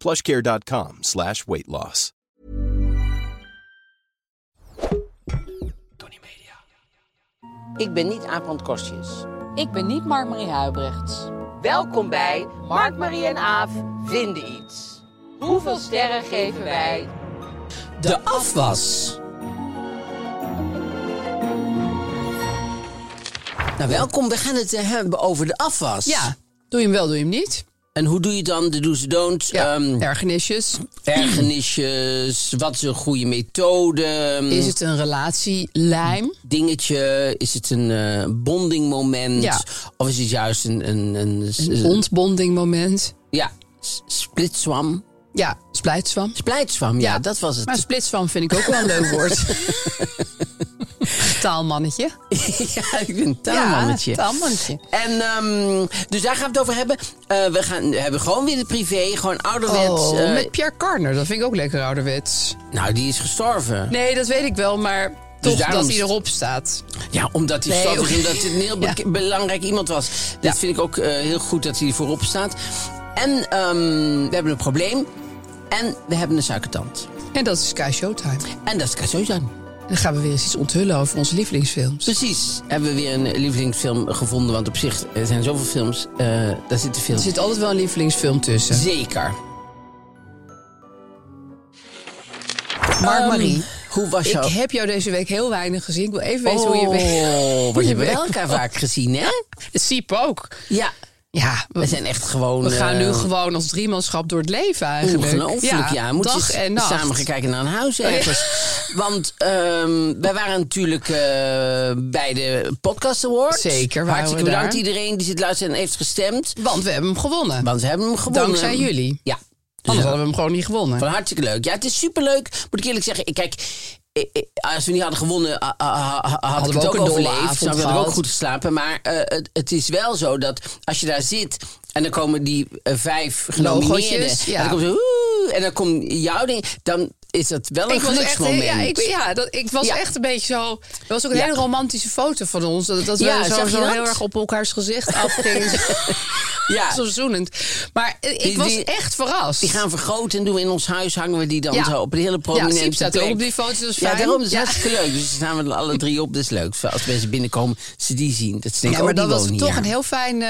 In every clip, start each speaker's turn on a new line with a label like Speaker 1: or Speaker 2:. Speaker 1: Plushcare.com slash weight loss.
Speaker 2: Ik ben niet Aap van het Kostjes.
Speaker 3: Ik ben niet Mark-Marie Huibrechts.
Speaker 2: Welkom bij Mark, Marie en Aaf vinden iets. Hoeveel sterren geven wij?
Speaker 3: De afwas.
Speaker 4: Nou, welkom. We gaan het eh, hebben over de afwas.
Speaker 3: Ja, doe je hem wel, doe je hem niet.
Speaker 4: En hoe doe je dan de do's en don'ts?
Speaker 3: Ja,
Speaker 4: Ehm,
Speaker 3: ergernisjes.
Speaker 4: ergernisjes, wat is een goede methode? Ehm,
Speaker 3: Is het een relatielijm?
Speaker 4: Dingetje, is het een eh bondingmoment?
Speaker 3: Ja.
Speaker 4: Of is het juist een... Een, een,
Speaker 3: Een ontbondingmoment?
Speaker 4: Ja, s- splitswam.
Speaker 3: Ja, splijtswam.
Speaker 4: Splijtswam, ja, dat was het.
Speaker 3: Maar splitswam vind ik ook wel een leuk woord. Taalmannetje.
Speaker 4: ja, ik ben een taalmannetje.
Speaker 3: Ja, taalmannetje.
Speaker 4: En ehm, dus daar gaan we het over hebben. Eh, we gaan, hebben gewoon weer het privé, gewoon ouderwets.
Speaker 3: Oh,
Speaker 4: eh,
Speaker 3: met Pierre Carner, dat vind ik ook lekker ouderwets. Dus
Speaker 4: Nou, die is gestorven.
Speaker 3: Nee, dat weet ik wel, maar toch
Speaker 4: daarom
Speaker 3: dat hij
Speaker 4: is-
Speaker 3: erop staat.
Speaker 4: Ja, omdat hij
Speaker 3: Nee,
Speaker 4: stad is,
Speaker 3: oké.
Speaker 4: omdat het een heel beke-
Speaker 3: Ja.
Speaker 4: belangrijk iemand was. Dat
Speaker 3: Ja.
Speaker 4: vind ik ook eh, heel goed dat hij voorop staat. En ehm, we hebben een probleem. En we hebben een suikertand.
Speaker 3: En dat is Sky Showtime.
Speaker 4: En dat kan zo zijn.
Speaker 3: En dan gaan we weer eens iets onthullen over onze lievelingsfilms.
Speaker 4: Precies. Hebben we weer een lievelingsfilm gevonden. Want op zich er zijn zoveel films. eh, daar zitten
Speaker 3: Er
Speaker 4: films.
Speaker 3: zit altijd wel een lievelingsfilm tussen.
Speaker 4: Zeker.
Speaker 3: Mark Marie.
Speaker 4: Hoe was
Speaker 3: Ehm, Ik
Speaker 4: jouw...
Speaker 3: heb jou deze week heel weinig gezien. Ik wil even weten hoe je bent.
Speaker 4: Oh,
Speaker 3: hoe
Speaker 4: we
Speaker 3: je
Speaker 4: hebben
Speaker 3: bent.
Speaker 4: elkaar vaak gezien, hè?
Speaker 3: Siep ook.
Speaker 4: Ja.
Speaker 3: Ja, we,
Speaker 4: We zijn echt gewoon...
Speaker 3: we gaan nu
Speaker 4: eh,
Speaker 3: gewoon als driemanschap door het leven eigenlijk.
Speaker 4: Ongelooflijk, ja. Moet
Speaker 3: dag
Speaker 4: je
Speaker 3: en nacht. Oh,
Speaker 4: samen gaan kijken naar een huis ergens. Want ehm, wij waren natuurlijk eh, bij de Podcast Awards.
Speaker 3: Zeker waren
Speaker 4: Hartstikke
Speaker 3: we
Speaker 4: bedankt
Speaker 3: daar.
Speaker 4: iedereen die zit luisteren en heeft gestemd.
Speaker 3: Want we hebben hem gewonnen.
Speaker 4: Want we hebben hem gewonnen.
Speaker 3: Dankzij jullie.
Speaker 4: Ja. Dus
Speaker 3: Anders
Speaker 4: dat-
Speaker 3: hadden we hem gewoon niet gewonnen.
Speaker 4: van hartstikke leuk. Ja, het is superleuk. Moet ik eerlijk zeggen, ik- kijk... ik- ik- Als we niet hadden gewonnen, ah, ah, ah, ah, had
Speaker 3: Hadden
Speaker 4: ik
Speaker 3: we
Speaker 4: het
Speaker 3: ook
Speaker 4: ook
Speaker 3: een dolle
Speaker 4: overleefd.
Speaker 3: avond
Speaker 4: Dan hadden we ook
Speaker 3: gehad.
Speaker 4: goed geslapen. Maar eh, het, het is wel zo dat als je daar zit en dan komen die eh, vijf genomineerden.
Speaker 3: Logootjes,
Speaker 4: En
Speaker 3: ja.
Speaker 4: dan komt zo, "Oeh," en dan komt jouw ding. Dan is dat wel een
Speaker 3: Ik was, echt, eh,
Speaker 4: geluksmoment.
Speaker 3: ja, ik, ja, dat, ik was
Speaker 4: Ja.
Speaker 3: echt een beetje zo... Er was ook een
Speaker 4: Ja.
Speaker 3: hele romantische foto van ons. Dat, dat
Speaker 4: Ja,
Speaker 3: we zo,
Speaker 4: zag je
Speaker 3: zo
Speaker 4: dat?
Speaker 3: heel erg op elkaars gezicht afgingen.
Speaker 4: Ja.
Speaker 3: Zo zoenend. Maar eh, ik
Speaker 4: Die-
Speaker 3: was
Speaker 4: die-
Speaker 3: echt verrast.
Speaker 4: Die gaan vergroten en doen we in ons huis. Hangen we die dan
Speaker 3: Ja.
Speaker 4: zo op een hele prominente
Speaker 3: Ja, Siep staat ook
Speaker 4: plek.
Speaker 3: op die foto, dat is
Speaker 4: Ja,
Speaker 3: fijn.
Speaker 4: daarom is het
Speaker 3: Ja.
Speaker 4: hartstikke leuk. Dus daar staan we alle drie op. Dat is leuk. Als mensen binnenkomen, ze die zien. Dat ze denken,
Speaker 3: Ja, maar
Speaker 4: oh, die
Speaker 3: dat was
Speaker 4: wonen
Speaker 3: toch
Speaker 4: hier.
Speaker 3: een heel fijn... eh,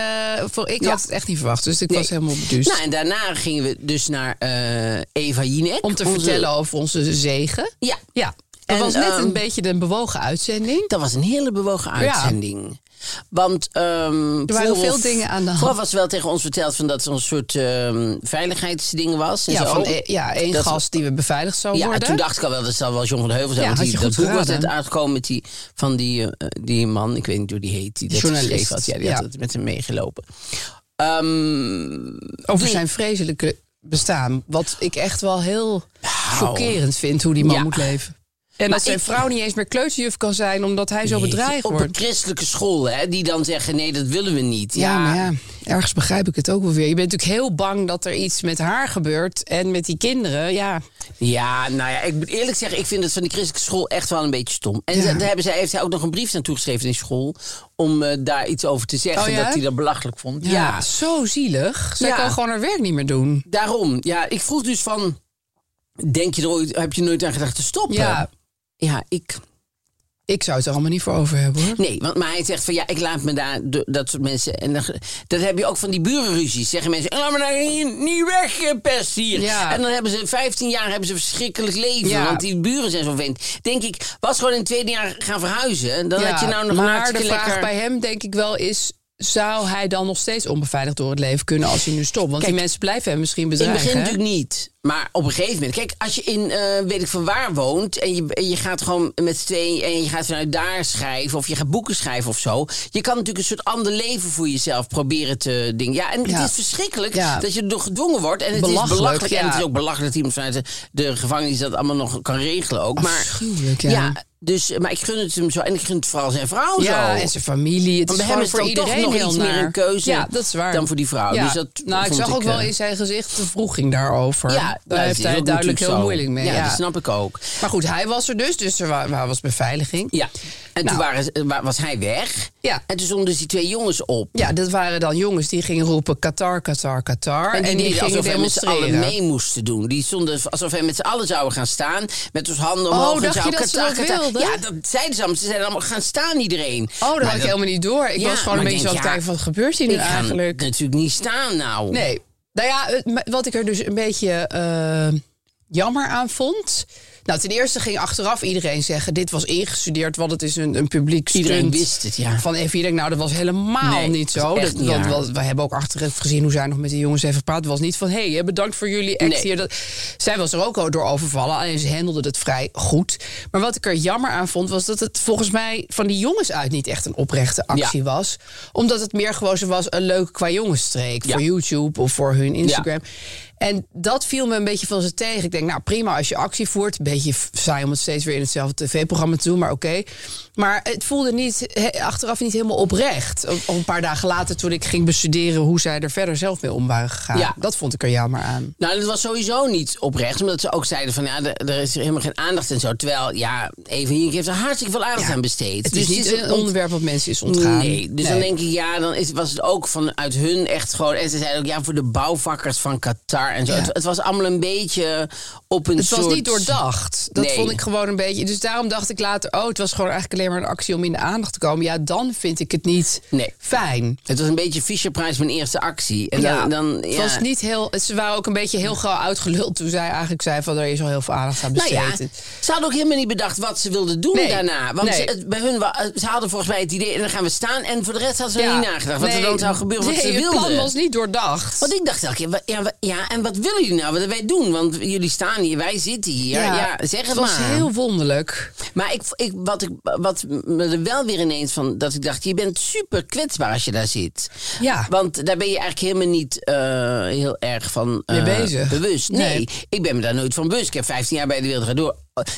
Speaker 3: voor, ik
Speaker 4: Ja.
Speaker 3: had het echt niet verwacht, dus ik was
Speaker 4: Nee.
Speaker 3: helemaal beduusd.
Speaker 4: Nou, en daarna gingen we dus naar eh, Eva Jinek.
Speaker 3: om te
Speaker 4: onze-
Speaker 3: vertellen over onze zegen.
Speaker 4: Ja.
Speaker 3: Ja,
Speaker 4: En,
Speaker 3: dat was net
Speaker 4: ehm,
Speaker 3: een beetje een bewogen uitzending.
Speaker 4: Dat was een hele bewogen uitzending. Want ehm, vooraf-
Speaker 3: veel dingen aan de hand.
Speaker 4: vooraf was wel tegen ons verteld van dat het een soort ehm, veiligheidsding was. En
Speaker 3: Ja,
Speaker 4: zo.
Speaker 3: van eh, ja, één
Speaker 4: Dat-
Speaker 3: gast die we beveiligd zou
Speaker 4: Ja, en
Speaker 3: worden.
Speaker 4: toen dacht ik al wel, dat zal wel John van de Heuvel zijn.
Speaker 3: Ja,
Speaker 4: want
Speaker 3: had
Speaker 4: die,
Speaker 3: je
Speaker 4: dat
Speaker 3: goed
Speaker 4: boek was
Speaker 3: geraden.
Speaker 4: net uitgekomen met die, van die, eh, die man, ik weet niet hoe die heet, die dat
Speaker 3: Journalist.
Speaker 4: geschreven had. Ja, die
Speaker 3: Ja.
Speaker 4: had het met hem meegelopen. Ehm,
Speaker 3: over zijn vreselijke bestaan. Wat ik echt wel heel chockerend vind hoe die man
Speaker 4: Ja.
Speaker 3: moet leven. Nou. En dat zijn
Speaker 4: ik-
Speaker 3: vrouw niet eens meer kleuterjuf kan zijn omdat hij zo bedreigd
Speaker 4: op een
Speaker 3: wordt.
Speaker 4: christelijke school, hè, die dan zeggen, nee, dat willen we niet.
Speaker 3: Ja, maar ja, ergens begrijp ik het ook wel weer. Je bent natuurlijk heel bang dat er iets met haar gebeurt en met die kinderen. Ja,
Speaker 4: Ja, nou ja, ik moet eerlijk zeggen, ik vind het van die christelijke school echt wel een beetje stom. En
Speaker 3: Ja.
Speaker 4: ze- daar hebben zij, heeft zij ook nog een brief naartoe geschreven in school om eh, daar iets over te zeggen
Speaker 3: Oh ja?
Speaker 4: dat hij dat belachelijk vond.
Speaker 3: ja. zo zielig. Zij
Speaker 4: Ja.
Speaker 3: kan gewoon haar werk niet meer doen.
Speaker 4: daarom. Ja, ik vroeg dus van, denk je er ooit, heb je nooit aan gedacht te stoppen?
Speaker 3: Ja.
Speaker 4: ja ik,
Speaker 3: Ik zou het er allemaal niet voor over hebben hoor.
Speaker 4: Nee, want, maar hij zegt van ja, ik laat me daar, do- dat soort mensen. En dan, dat heb je ook van die burenruzies. Zeggen mensen, laat me daar niet, niet weg, eh, pest hier.
Speaker 3: Ja.
Speaker 4: En dan hebben ze 15 jaar hebben ze een verschrikkelijk leven.
Speaker 3: Ja.
Speaker 4: Want die buren zijn zo vent. Denk ik, was gewoon in het tweede jaar gaan verhuizen. Dan
Speaker 3: Ja,
Speaker 4: had je nou nog een
Speaker 3: maar de
Speaker 4: hartstikke
Speaker 3: vraag
Speaker 4: lekker...
Speaker 3: bij hem denk ik wel is... zou hij dan nog steeds onbeveiligd door het leven kunnen als hij nu stopt? Want die
Speaker 4: Kijk,
Speaker 3: mensen blijven hem misschien
Speaker 4: In het
Speaker 3: bedreigen.
Speaker 4: begin
Speaker 3: hè?
Speaker 4: natuurlijk niet. Maar op een gegeven moment. Kijk, als je in eh, weet ik van waar woont. En je, en je gaat gewoon met z'n tweeën. En je gaat vanuit daar schrijven. Of je gaat boeken schrijven of zo. Je kan natuurlijk een soort ander leven voor jezelf proberen te dingen. Ja, en
Speaker 3: Ja.
Speaker 4: het is verschrikkelijk
Speaker 3: Ja.
Speaker 4: dat je erdoor gedwongen wordt. En het
Speaker 3: Belachelijk,
Speaker 4: is belachelijk. En
Speaker 3: ja.
Speaker 4: het is ook belachelijk dat iemand vanuit de, de gevangenis dat allemaal nog kan regelen ook. Maar
Speaker 3: Afschuwelijk, ja.
Speaker 4: dus, maar ik gun het hem zo. En ik gun het vooral zijn vrouw
Speaker 3: Ja,
Speaker 4: zo.
Speaker 3: en zijn familie. Het
Speaker 4: Want
Speaker 3: is
Speaker 4: bij hem
Speaker 3: gewoon
Speaker 4: is het dan
Speaker 3: voor
Speaker 4: toch
Speaker 3: iedereen
Speaker 4: nog
Speaker 3: heel
Speaker 4: iets
Speaker 3: naar.
Speaker 4: meer een keuze
Speaker 3: ja, dat is waar.
Speaker 4: dan voor die vrouw. Dus dat
Speaker 3: nou, ik
Speaker 4: vond
Speaker 3: zag
Speaker 4: ik,
Speaker 3: ook wel
Speaker 4: eh,
Speaker 3: in zijn gezicht de vroeging daarover.
Speaker 4: Ja,
Speaker 3: daar
Speaker 4: dat
Speaker 3: heeft
Speaker 4: is
Speaker 3: hij
Speaker 4: ook
Speaker 3: duidelijk heel
Speaker 4: natuurlijk zo.
Speaker 3: moeilijk mee.
Speaker 4: Ja,
Speaker 3: ja.
Speaker 4: dat nou- snap ik ook.
Speaker 3: Maar goed, hij was er dus, dus er wa- wa- was beveiliging.
Speaker 4: Ja. En
Speaker 3: Nou.
Speaker 4: toen waren, ze- eh, wa- was hij weg.
Speaker 3: Ja.
Speaker 4: En toen stonden dus die twee jongens op.
Speaker 3: Ja, dat waren dan jongens die gingen roepen Qatar, Qatar, Qatar.
Speaker 4: En die, deden
Speaker 3: gingen
Speaker 4: alsof hij met z'n allen
Speaker 3: demonstreren.
Speaker 4: mee moesten doen. Die stonden alsof hij met z'n allen zouden gaan staan. Met ons handen omhoog. en
Speaker 3: Oh, dacht je
Speaker 4: zo,
Speaker 3: dat ze
Speaker 4: kata,
Speaker 3: dat
Speaker 4: kata.
Speaker 3: wilden?
Speaker 4: Ja, dat zeiden ze allemaal. Ze zeiden allemaal, gaan staan iedereen.
Speaker 3: Oh, dat
Speaker 4: Maar
Speaker 3: had ik helemaal niet door. Ik
Speaker 4: Ja,
Speaker 3: was gewoon een
Speaker 4: maar
Speaker 3: beetje
Speaker 4: denk,
Speaker 3: zo aan het
Speaker 4: ja,
Speaker 3: kijken van, wat gebeurt hier nu
Speaker 4: ik ga
Speaker 3: eigenlijk?
Speaker 4: natuurlijk niet staan nou.
Speaker 3: Nee. Nou ja, het- m- wat ik er dus een beetje eh, jammer aan vond. Nou, ten eerste ging achteraf iedereen zeggen: dit was ingestudeerd, want het is een, een publiek
Speaker 4: Iedereen
Speaker 3: stunt
Speaker 4: wist het, ja.
Speaker 3: Van even, ik denk, nou, dat was helemaal
Speaker 4: Nee,
Speaker 3: niet
Speaker 4: dat is
Speaker 3: zo.
Speaker 4: echt
Speaker 3: Dat,
Speaker 4: niet
Speaker 3: want,
Speaker 4: waar.
Speaker 3: want we hebben ook achteraf gezien hoe zij nog met de jongens even gepraat. Het was niet van: hé, hey, bedankt voor jullie act
Speaker 4: Nee.
Speaker 3: hier. Dat, zij was er ook al door overvallen, alleen ze handelde het vrij goed. Maar wat ik er jammer aan vond, was dat het volgens mij van die jongens uit niet echt een oprechte actie
Speaker 4: Ja.
Speaker 3: was. Omdat het meer gewoon zo was een leuke qua jongensstreek
Speaker 4: Ja.
Speaker 3: voor YouTube of voor hun Instagram. En dat viel me een beetje van ze tegen. Ik denk, nou prima als je actie voert. Een beetje f- saai om het steeds weer in hetzelfde tv-programma te doen, maar oké. Maar het voelde niet, he- achteraf niet helemaal oprecht. Op, op een paar dagen later toen ik ging bestuderen hoe zij er verder zelf mee om waren gegaan.
Speaker 4: Ja.
Speaker 3: Dat vond ik er jammer aan.
Speaker 4: Nou, dat was sowieso niet oprecht. Omdat ze ook zeiden van, ja, er, er is helemaal geen aandacht en zo. Terwijl, ja, even hier heeft er hartstikke veel aandacht aan besteed. Dus
Speaker 3: Het is niet een
Speaker 4: ont-
Speaker 3: onderwerp wat mensen is ontgaan.
Speaker 4: Nee, dus dan denk ik, ja, dan is, was het ook vanuit hun echt gewoon... En ze zeiden ook, ja, voor de bouwvakkers van Qatar en zo.
Speaker 3: Ja.
Speaker 4: Het, het was allemaal een beetje op een
Speaker 3: Het
Speaker 4: soort...
Speaker 3: was niet doordacht. Dat
Speaker 4: Nee.
Speaker 3: vond ik gewoon een beetje. Dus daarom dacht ik later, oh, het was gewoon eigenlijk alleen maar een actie om in de aandacht te komen. Ja, dan vind ik het niet
Speaker 4: Nee.
Speaker 3: fijn.
Speaker 4: Het was een beetje Fisher-prijs mijn eerste actie. En
Speaker 3: ja,
Speaker 4: dan, dan,
Speaker 3: het
Speaker 4: ja.
Speaker 3: was niet heel. Ze waren ook een beetje heel gauw uitgeluld toen zij eigenlijk zei van er is al heel veel aandacht aan
Speaker 4: Nou
Speaker 3: besteed.
Speaker 4: ja, ze hadden ook helemaal niet bedacht wat ze wilden doen
Speaker 3: Nee,
Speaker 4: daarna. Want
Speaker 3: nee.
Speaker 4: ze, het- bij hun, wa- ze hadden volgens mij het idee, en dan gaan we staan. En voor de rest hadden ze
Speaker 3: Ja,
Speaker 4: niet nagedacht wat er
Speaker 3: nee,
Speaker 4: dan zou gebeuren, wat
Speaker 3: nee,
Speaker 4: ze
Speaker 3: het
Speaker 4: wilden.
Speaker 3: plan was niet doordacht.
Speaker 4: Want ik dacht elke keer, wa- ja, wa- ja, en wat willen jullie nou? Wat wij doen? Want jullie staan hier, wij zitten hier. Ja, zeg het,
Speaker 3: was
Speaker 4: maar.
Speaker 3: heel wonderlijk.
Speaker 4: Maar ik, ik, wat, ik, wat me er wel weer ineens van, dat ik dacht, je bent super kwetsbaar als je daar zit.
Speaker 3: Ja.
Speaker 4: Want daar ben je eigenlijk helemaal niet eh, heel erg van eh,
Speaker 3: Mee bezig.
Speaker 4: bewust. Nee,
Speaker 3: Nee.
Speaker 4: ik ben me daar nooit van bewust. Ik heb 15 jaar bij de wereld door.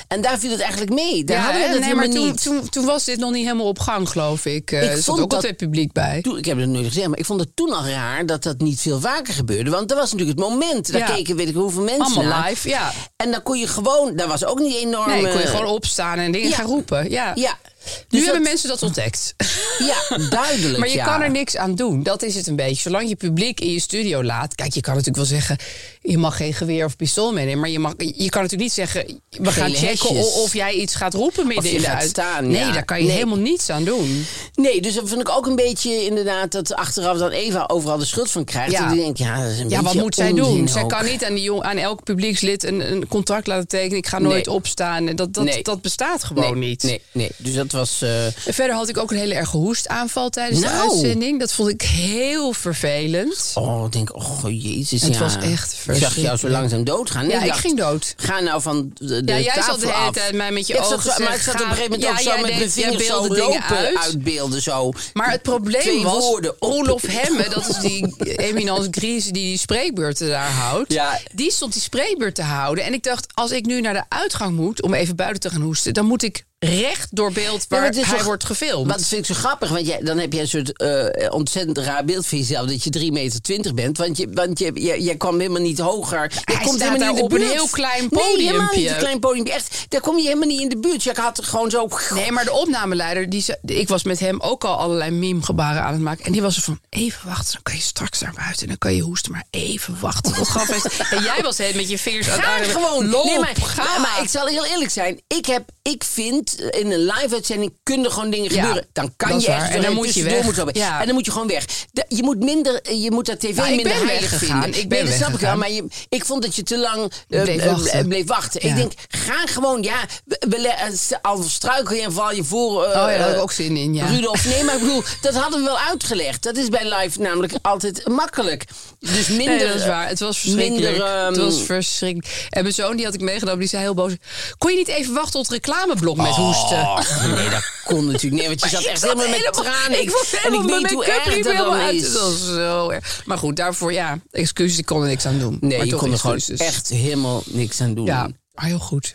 Speaker 4: En daar viel het eigenlijk mee. Daar hadden we
Speaker 3: hè?
Speaker 4: dat
Speaker 3: nee, maar
Speaker 4: helemaal
Speaker 3: toen,
Speaker 4: niet.
Speaker 3: toen, toen was dit nog niet helemaal op gang, geloof ik. Eh,
Speaker 4: Ik
Speaker 3: er zat
Speaker 4: vond
Speaker 3: ook
Speaker 4: dat-
Speaker 3: altijd publiek bij.
Speaker 4: Toen- ik heb het nooit gezegd, maar ik vond het toen al raar dat dat niet veel vaker gebeurde. Want dat was natuurlijk het moment. Daar
Speaker 3: Ja.
Speaker 4: keken weet ik hoeveel mensen
Speaker 3: Allemaal
Speaker 4: naar.
Speaker 3: live, ja.
Speaker 4: En dan kon je gewoon, daar was ook niet enorm...
Speaker 3: Nee, kon je
Speaker 4: eh,
Speaker 3: gewoon opstaan en dingen
Speaker 4: Ja.
Speaker 3: gaan roepen. Ja.
Speaker 4: Ja.
Speaker 3: Nu
Speaker 4: Dus
Speaker 3: hebben
Speaker 4: dat-
Speaker 3: mensen dat ontdekt.
Speaker 4: Ja, duidelijk,
Speaker 3: Maar je
Speaker 4: ja.
Speaker 3: kan er niks aan doen. Dat is het een beetje. Zolang je publiek in je studio laat. Kijk, je kan natuurlijk wel zeggen. Je mag geen geweer of pistool meenemen. Maar je, mag, je kan natuurlijk niet zeggen. We gaan checken
Speaker 4: hesjes.
Speaker 3: of, of jij iets gaat roepen midden
Speaker 4: Of je
Speaker 3: in de
Speaker 4: gaat
Speaker 3: uit-
Speaker 4: staan,
Speaker 3: Nee,
Speaker 4: ja.
Speaker 3: daar kan je
Speaker 4: Nee.
Speaker 3: helemaal niets aan doen.
Speaker 4: Nee, dus dat vond ik ook een beetje inderdaad dat achteraf dan Eva overal de schuld van krijgt.
Speaker 3: Ja.
Speaker 4: En die denkt, ja, dat is een
Speaker 3: Ja, wat
Speaker 4: beetje
Speaker 3: moet zij
Speaker 4: onzin
Speaker 3: doen? Zij
Speaker 4: ook.
Speaker 3: kan niet aan, die jong, aan elk publiekslid een, een contract laten tekenen. Ik ga nooit
Speaker 4: Nee.
Speaker 3: opstaan. Dat, dat,
Speaker 4: Nee.
Speaker 3: dat bestaat
Speaker 4: nee,
Speaker 3: gewoon niet.
Speaker 4: Nee, nee, dus dat was. eh,
Speaker 3: En Verder had ik ook een hele erge hoestaanval tijdens de
Speaker 4: Nou.
Speaker 3: uitzending. Dat vond ik heel vervelend.
Speaker 4: oh, ik denk, oh jezus.
Speaker 3: Het
Speaker 4: ja.
Speaker 3: was echt
Speaker 4: Ik zag jou zo
Speaker 3: verschrikkelijk.
Speaker 4: langzaam doodgaan. Nee,
Speaker 3: Ja, ik
Speaker 4: dacht,
Speaker 3: ging dood.
Speaker 4: Ga nou van de, de
Speaker 3: Ja, jij
Speaker 4: tafel
Speaker 3: zat de hele
Speaker 4: af.
Speaker 3: tijd mij met je
Speaker 4: Ik zat
Speaker 3: ogen
Speaker 4: zo- Maar
Speaker 3: te
Speaker 4: ik zat op een
Speaker 3: gaan-
Speaker 4: gegeven moment
Speaker 3: Ja,
Speaker 4: ook zo
Speaker 3: jij
Speaker 4: met
Speaker 3: deed-
Speaker 4: mijn
Speaker 3: jij
Speaker 4: vingers zo
Speaker 3: beeldde dingen
Speaker 4: lopen
Speaker 3: uit.
Speaker 4: uitbeelden. Zo.
Speaker 3: Maar het probleem
Speaker 4: Twee
Speaker 3: was,
Speaker 4: woorden op-
Speaker 3: Olof Hemme, dat is die eminence Griezen die die spreekbeurten daar houdt.
Speaker 4: Ja.
Speaker 3: Die stond die spreekbeurt te houden. En ik dacht, als ik nu naar de uitgang moet om even buiten te gaan hoesten... dan moet ik recht door beeld
Speaker 4: Ja,
Speaker 3: waar
Speaker 4: maar het is
Speaker 3: hij
Speaker 4: zo-
Speaker 3: wordt gefilmd.
Speaker 4: Maar dat vind ik zo grappig, want jij, dan heb jij een soort eh, ontzettend raar beeld van jezelf... dat je 3,20 meter bent, want, je, want je, jij, jij kwam helemaal niet hoger. Je
Speaker 3: hij
Speaker 4: komt
Speaker 3: staat
Speaker 4: helemaal niet
Speaker 3: daar
Speaker 4: in de
Speaker 3: op een
Speaker 4: buurt.
Speaker 3: heel klein
Speaker 4: Nee, helemaal niet
Speaker 3: podiumpje.
Speaker 4: een klein podiumpje. Echt, daar kom je helemaal niet in de buurt. Je had gewoon zo...
Speaker 3: Nee, maar de opnameleider, die ze- ik was met hem ook al allerlei meme-gebaren aan het maken. En die was er van, even wachten, dan kan je straks naar buiten. En dan kan je hoesten, maar even wachten. Dat gaf best- En jij was het met je vingers aan het
Speaker 4: Ga
Speaker 3: aarde.
Speaker 4: gewoon.
Speaker 3: Loop,
Speaker 4: nee, maar,
Speaker 3: ga.
Speaker 4: maar ik zal heel eerlijk zijn. Ik, heb, ik vind niet in een live-uitzending kunnen gewoon dingen
Speaker 3: Ja,
Speaker 4: gebeuren. Dan kan
Speaker 3: dat
Speaker 4: je
Speaker 3: is waar.
Speaker 4: echt
Speaker 3: En dan moet je
Speaker 4: tussendoor
Speaker 3: weg.
Speaker 4: moeten lopen.
Speaker 3: Ja.
Speaker 4: En dan moet je gewoon weg. Da- je moet minder, eh, je moet dat tv
Speaker 3: Nou, ik
Speaker 4: minder
Speaker 3: ben
Speaker 4: heilig
Speaker 3: weggegaan.
Speaker 4: vinden.
Speaker 3: Ik ben
Speaker 4: nee, dat snap ik wel,
Speaker 3: weggegaan.
Speaker 4: maar je, ik vond dat je te lang eh,
Speaker 3: Bleef
Speaker 4: eh,
Speaker 3: wachten.
Speaker 4: bleef wachten.
Speaker 3: Ja.
Speaker 4: Ik denk, ga gewoon, ja, we- we le- eh, al struikel je en val je voor. eh,
Speaker 3: Oh ja, daar had ik
Speaker 4: eh,
Speaker 3: ook zin in, ja.
Speaker 4: Rudolf, nee, maar ik bedoel, dat hadden we wel uitgelegd. Dat is bij live namelijk altijd makkelijk. Dus minder.
Speaker 3: nee, dat is waar. Het was verschrikkelijk.
Speaker 4: minder, ehm,
Speaker 3: het was verschrikkelijk. En mijn zoon die had ik meegenomen, die zei heel boos... Kon je niet even wachten tot het reclameblok met hoesten?
Speaker 4: Oh, nee, dat kon natuurlijk niet. Want je
Speaker 3: Maar
Speaker 4: zat
Speaker 3: ik
Speaker 4: echt helemaal met
Speaker 3: helemaal-
Speaker 4: tranen.
Speaker 3: Ik was
Speaker 4: en ik
Speaker 3: helemaal
Speaker 4: weet
Speaker 3: mijn
Speaker 4: hoe
Speaker 3: make-up
Speaker 4: erg
Speaker 3: riep
Speaker 4: dat
Speaker 3: helemaal
Speaker 4: dan
Speaker 3: uit.
Speaker 4: is.
Speaker 3: Het was zo erg. Maar goed, daarvoor ja, excuses, ik kon er niks aan doen.
Speaker 4: Nee,
Speaker 3: maar
Speaker 4: je
Speaker 3: toch
Speaker 4: kon er gewoon
Speaker 3: excuses.
Speaker 4: echt helemaal niks aan doen.
Speaker 3: Ja, maar Ah, heel goed.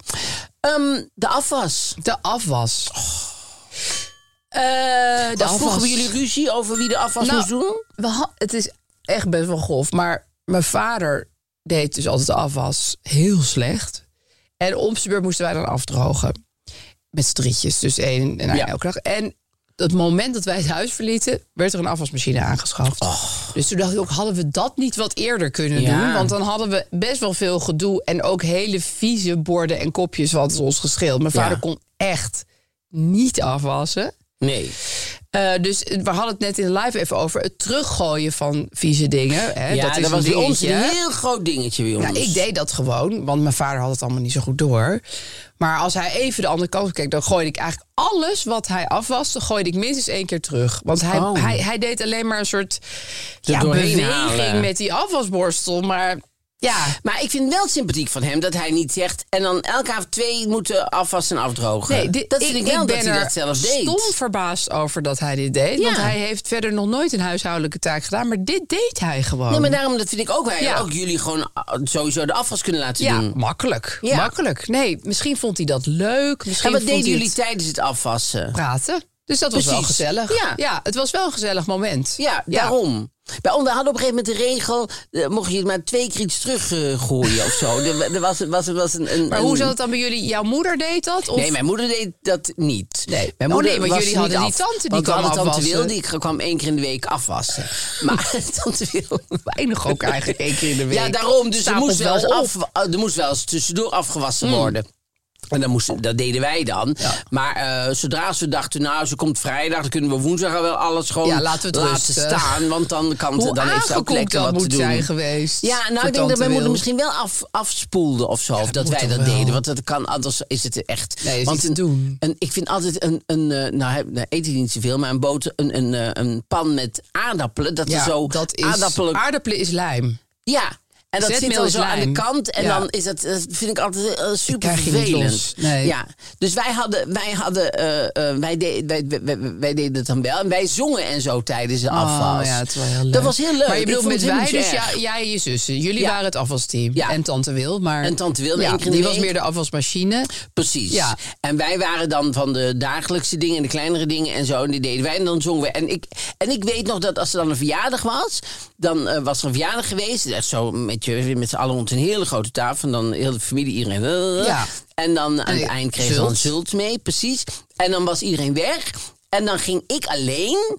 Speaker 4: Ehm, de afwas.
Speaker 3: De afwas. Eh, de
Speaker 4: Daar vroegen we jullie ruzie over wie de afwas
Speaker 3: Nou,
Speaker 4: moest doen?
Speaker 3: we ha- het is echt best wel grof. Maar mijn vader deed dus altijd de afwas heel slecht. En om zijn beurt moesten wij dan afdrogen. Met z'n drietjes, dus één en
Speaker 4: Ja.
Speaker 3: elke dag. En het moment dat wij het huis verlieten, werd er een afwasmachine aangeschaft. Dus toen dacht ik ook, hadden we dat niet wat eerder kunnen
Speaker 4: Oh. Ja.
Speaker 3: doen? Want dan hadden we best wel veel gedoe en ook hele vieze borden en kopjes wat ons gescheeld. Mijn
Speaker 4: Ja.
Speaker 3: vader kon echt niet afwassen.
Speaker 4: Nee.
Speaker 3: Eh, dus we hadden het net in de live even over het teruggooien van vieze dingen. Hè?
Speaker 4: ja,
Speaker 3: dat is
Speaker 4: dat was
Speaker 3: een
Speaker 4: bij ons
Speaker 3: dingetje.
Speaker 4: een heel groot dingetje bij ons.
Speaker 3: Nou, ik deed dat gewoon, want mijn vader had het allemaal niet zo goed door. Maar als hij even de andere kant op keek, dan gooide ik eigenlijk alles wat hij afwaste, gooide ik minstens één keer terug. Want hij,
Speaker 4: Oh.
Speaker 3: hij, hij deed alleen maar een soort ja,
Speaker 4: doorheen
Speaker 3: beweging
Speaker 4: halen.
Speaker 3: met die afwasborstel. Maar ja,
Speaker 4: Maar ik vind wel sympathiek van hem dat hij niet zegt... en dan elke avond twee moeten afwassen en afdrogen.
Speaker 3: Nee, dit-
Speaker 4: dat vind ik,
Speaker 3: ik
Speaker 4: wel
Speaker 3: ben
Speaker 4: dat hij
Speaker 3: er
Speaker 4: dat zelf deed.
Speaker 3: stom verbaasd over dat hij dit deed.
Speaker 4: Ja.
Speaker 3: Want hij heeft verder nog nooit een huishoudelijke taak gedaan. Maar dit deed hij gewoon.
Speaker 4: Nee, maar daarom dat vind ik ook. Wij
Speaker 3: Ja.
Speaker 4: ook jullie gewoon ah, sowieso de afwas kunnen laten
Speaker 3: ja,
Speaker 4: doen.
Speaker 3: makkelijk.
Speaker 4: Ja.
Speaker 3: Makkelijk. Nee, misschien vond hij dat leuk. Misschien
Speaker 4: En wat
Speaker 3: vond
Speaker 4: deden
Speaker 3: hij
Speaker 4: jullie
Speaker 3: het
Speaker 4: tijdens het afwassen?
Speaker 3: praten. Dus dat was wel
Speaker 4: Precies.
Speaker 3: gezellig.
Speaker 4: Ja.
Speaker 3: het was wel een gezellig moment.
Speaker 4: Ja, daarom. Bij ons, we hadden op een gegeven moment de regel... eh, mocht je maar twee keer iets teruggooien of zo. Er, er was, was, was een, een,
Speaker 3: Maar hoe
Speaker 4: een-
Speaker 3: zat het dan bij jullie? Jouw moeder deed dat? Of?
Speaker 4: Nee, mijn moeder deed dat niet.
Speaker 3: Nee.
Speaker 4: Mijn
Speaker 3: Oh,
Speaker 4: moeder
Speaker 3: nee, want
Speaker 4: was
Speaker 3: jullie
Speaker 4: niet
Speaker 3: hadden die
Speaker 4: af.
Speaker 3: tante die
Speaker 4: Want we
Speaker 3: kwam
Speaker 4: hadden tante
Speaker 3: afwassen.
Speaker 4: Wil, die k- kwam één keer in de week afwassen. Maar tante Wil...
Speaker 3: Weinig ook eigenlijk één keer in de week.
Speaker 4: Ja, daarom. Dus er
Speaker 3: Stapelt
Speaker 4: moest, wel eens
Speaker 3: op.
Speaker 4: af, eh, er moest wel eens tussendoor afgewassen
Speaker 3: Hmm.
Speaker 4: worden. En dan moest, dat deden wij dan. Maar eh, zodra ze dachten, nou, ze komt vrijdag... dan kunnen we woensdag al wel alles gewoon
Speaker 3: Ja, laten we het
Speaker 4: laten
Speaker 3: rusten.
Speaker 4: staan. Want dan, kan,
Speaker 3: Hoe
Speaker 4: ze- dan heeft ze ook
Speaker 3: aangekoekt
Speaker 4: lekker
Speaker 3: dat
Speaker 4: wat
Speaker 3: moet
Speaker 4: te doen.
Speaker 3: zijn geweest
Speaker 4: Ja, nou,
Speaker 3: voor
Speaker 4: ik denk dat
Speaker 3: tante
Speaker 4: mijn moeder
Speaker 3: Wil.
Speaker 4: misschien wel af, afspoelde of zo. of dat
Speaker 3: moet
Speaker 4: wij
Speaker 3: toch
Speaker 4: dat
Speaker 3: wel.
Speaker 4: deden. Want dat kan, anders is het echt...
Speaker 3: Nee, is
Speaker 4: want
Speaker 3: niet te
Speaker 4: een-
Speaker 3: doen.
Speaker 4: een- ik vind altijd een... een eh, nou, he- nou, eet ik niet zoveel, maar een, boter, een, een, eh, een pan met aardappelen... dat
Speaker 3: Ja,
Speaker 4: is zo
Speaker 3: dat is,
Speaker 4: aardappelen
Speaker 3: aardappelen is lijm.
Speaker 4: ja, en dat
Speaker 3: Zetmeel
Speaker 4: zit dan
Speaker 3: is
Speaker 4: zo aan de
Speaker 3: lijm.
Speaker 4: kant. En
Speaker 3: Ja.
Speaker 4: dan is dat, dat vind ik altijd eh, super
Speaker 3: krijg je niet
Speaker 4: vervelend.
Speaker 3: los. Nee.
Speaker 4: Ja. Dus wij hadden, wij hadden, eh, eh, wij, de- wij, wij, wij- wij deden het dan wel. En wij zongen en zo tijdens de afwas.
Speaker 3: Oh, ja, het was heel leuk.
Speaker 4: Dat was heel leuk.
Speaker 3: Maar je
Speaker 4: Ik
Speaker 3: bedoelt
Speaker 4: vond
Speaker 3: met
Speaker 4: het
Speaker 3: wij,
Speaker 4: helemaal
Speaker 3: dus
Speaker 4: niet
Speaker 3: ja,
Speaker 4: erg.
Speaker 3: jij en je zussen. Jullie
Speaker 4: Ja.
Speaker 3: waren het afwasteam.
Speaker 4: Ja.
Speaker 3: En tante Wil, maar...
Speaker 4: En tante Wil, maar
Speaker 3: ja,
Speaker 4: één keer in de
Speaker 3: die was
Speaker 4: week.
Speaker 3: meer de afwasmachine.
Speaker 4: Precies.
Speaker 3: Ja.
Speaker 4: En wij waren dan van de dagelijkse dingen en de kleinere dingen en zo. En die deden wij en dan zongen we. En ik, en ik weet nog dat als er dan een verjaardag was, dan eh, was er een verjaardag geweest. Echt zo met, je, met z'n allen rond een hele grote tafel. En dan heel de familie, iedereen. eh,
Speaker 3: Ja.
Speaker 4: En dan aan
Speaker 3: En
Speaker 4: het eind kreeg
Speaker 3: zult.
Speaker 4: ze dan zult mee, precies. En dan was iedereen weg. En dan ging ik alleen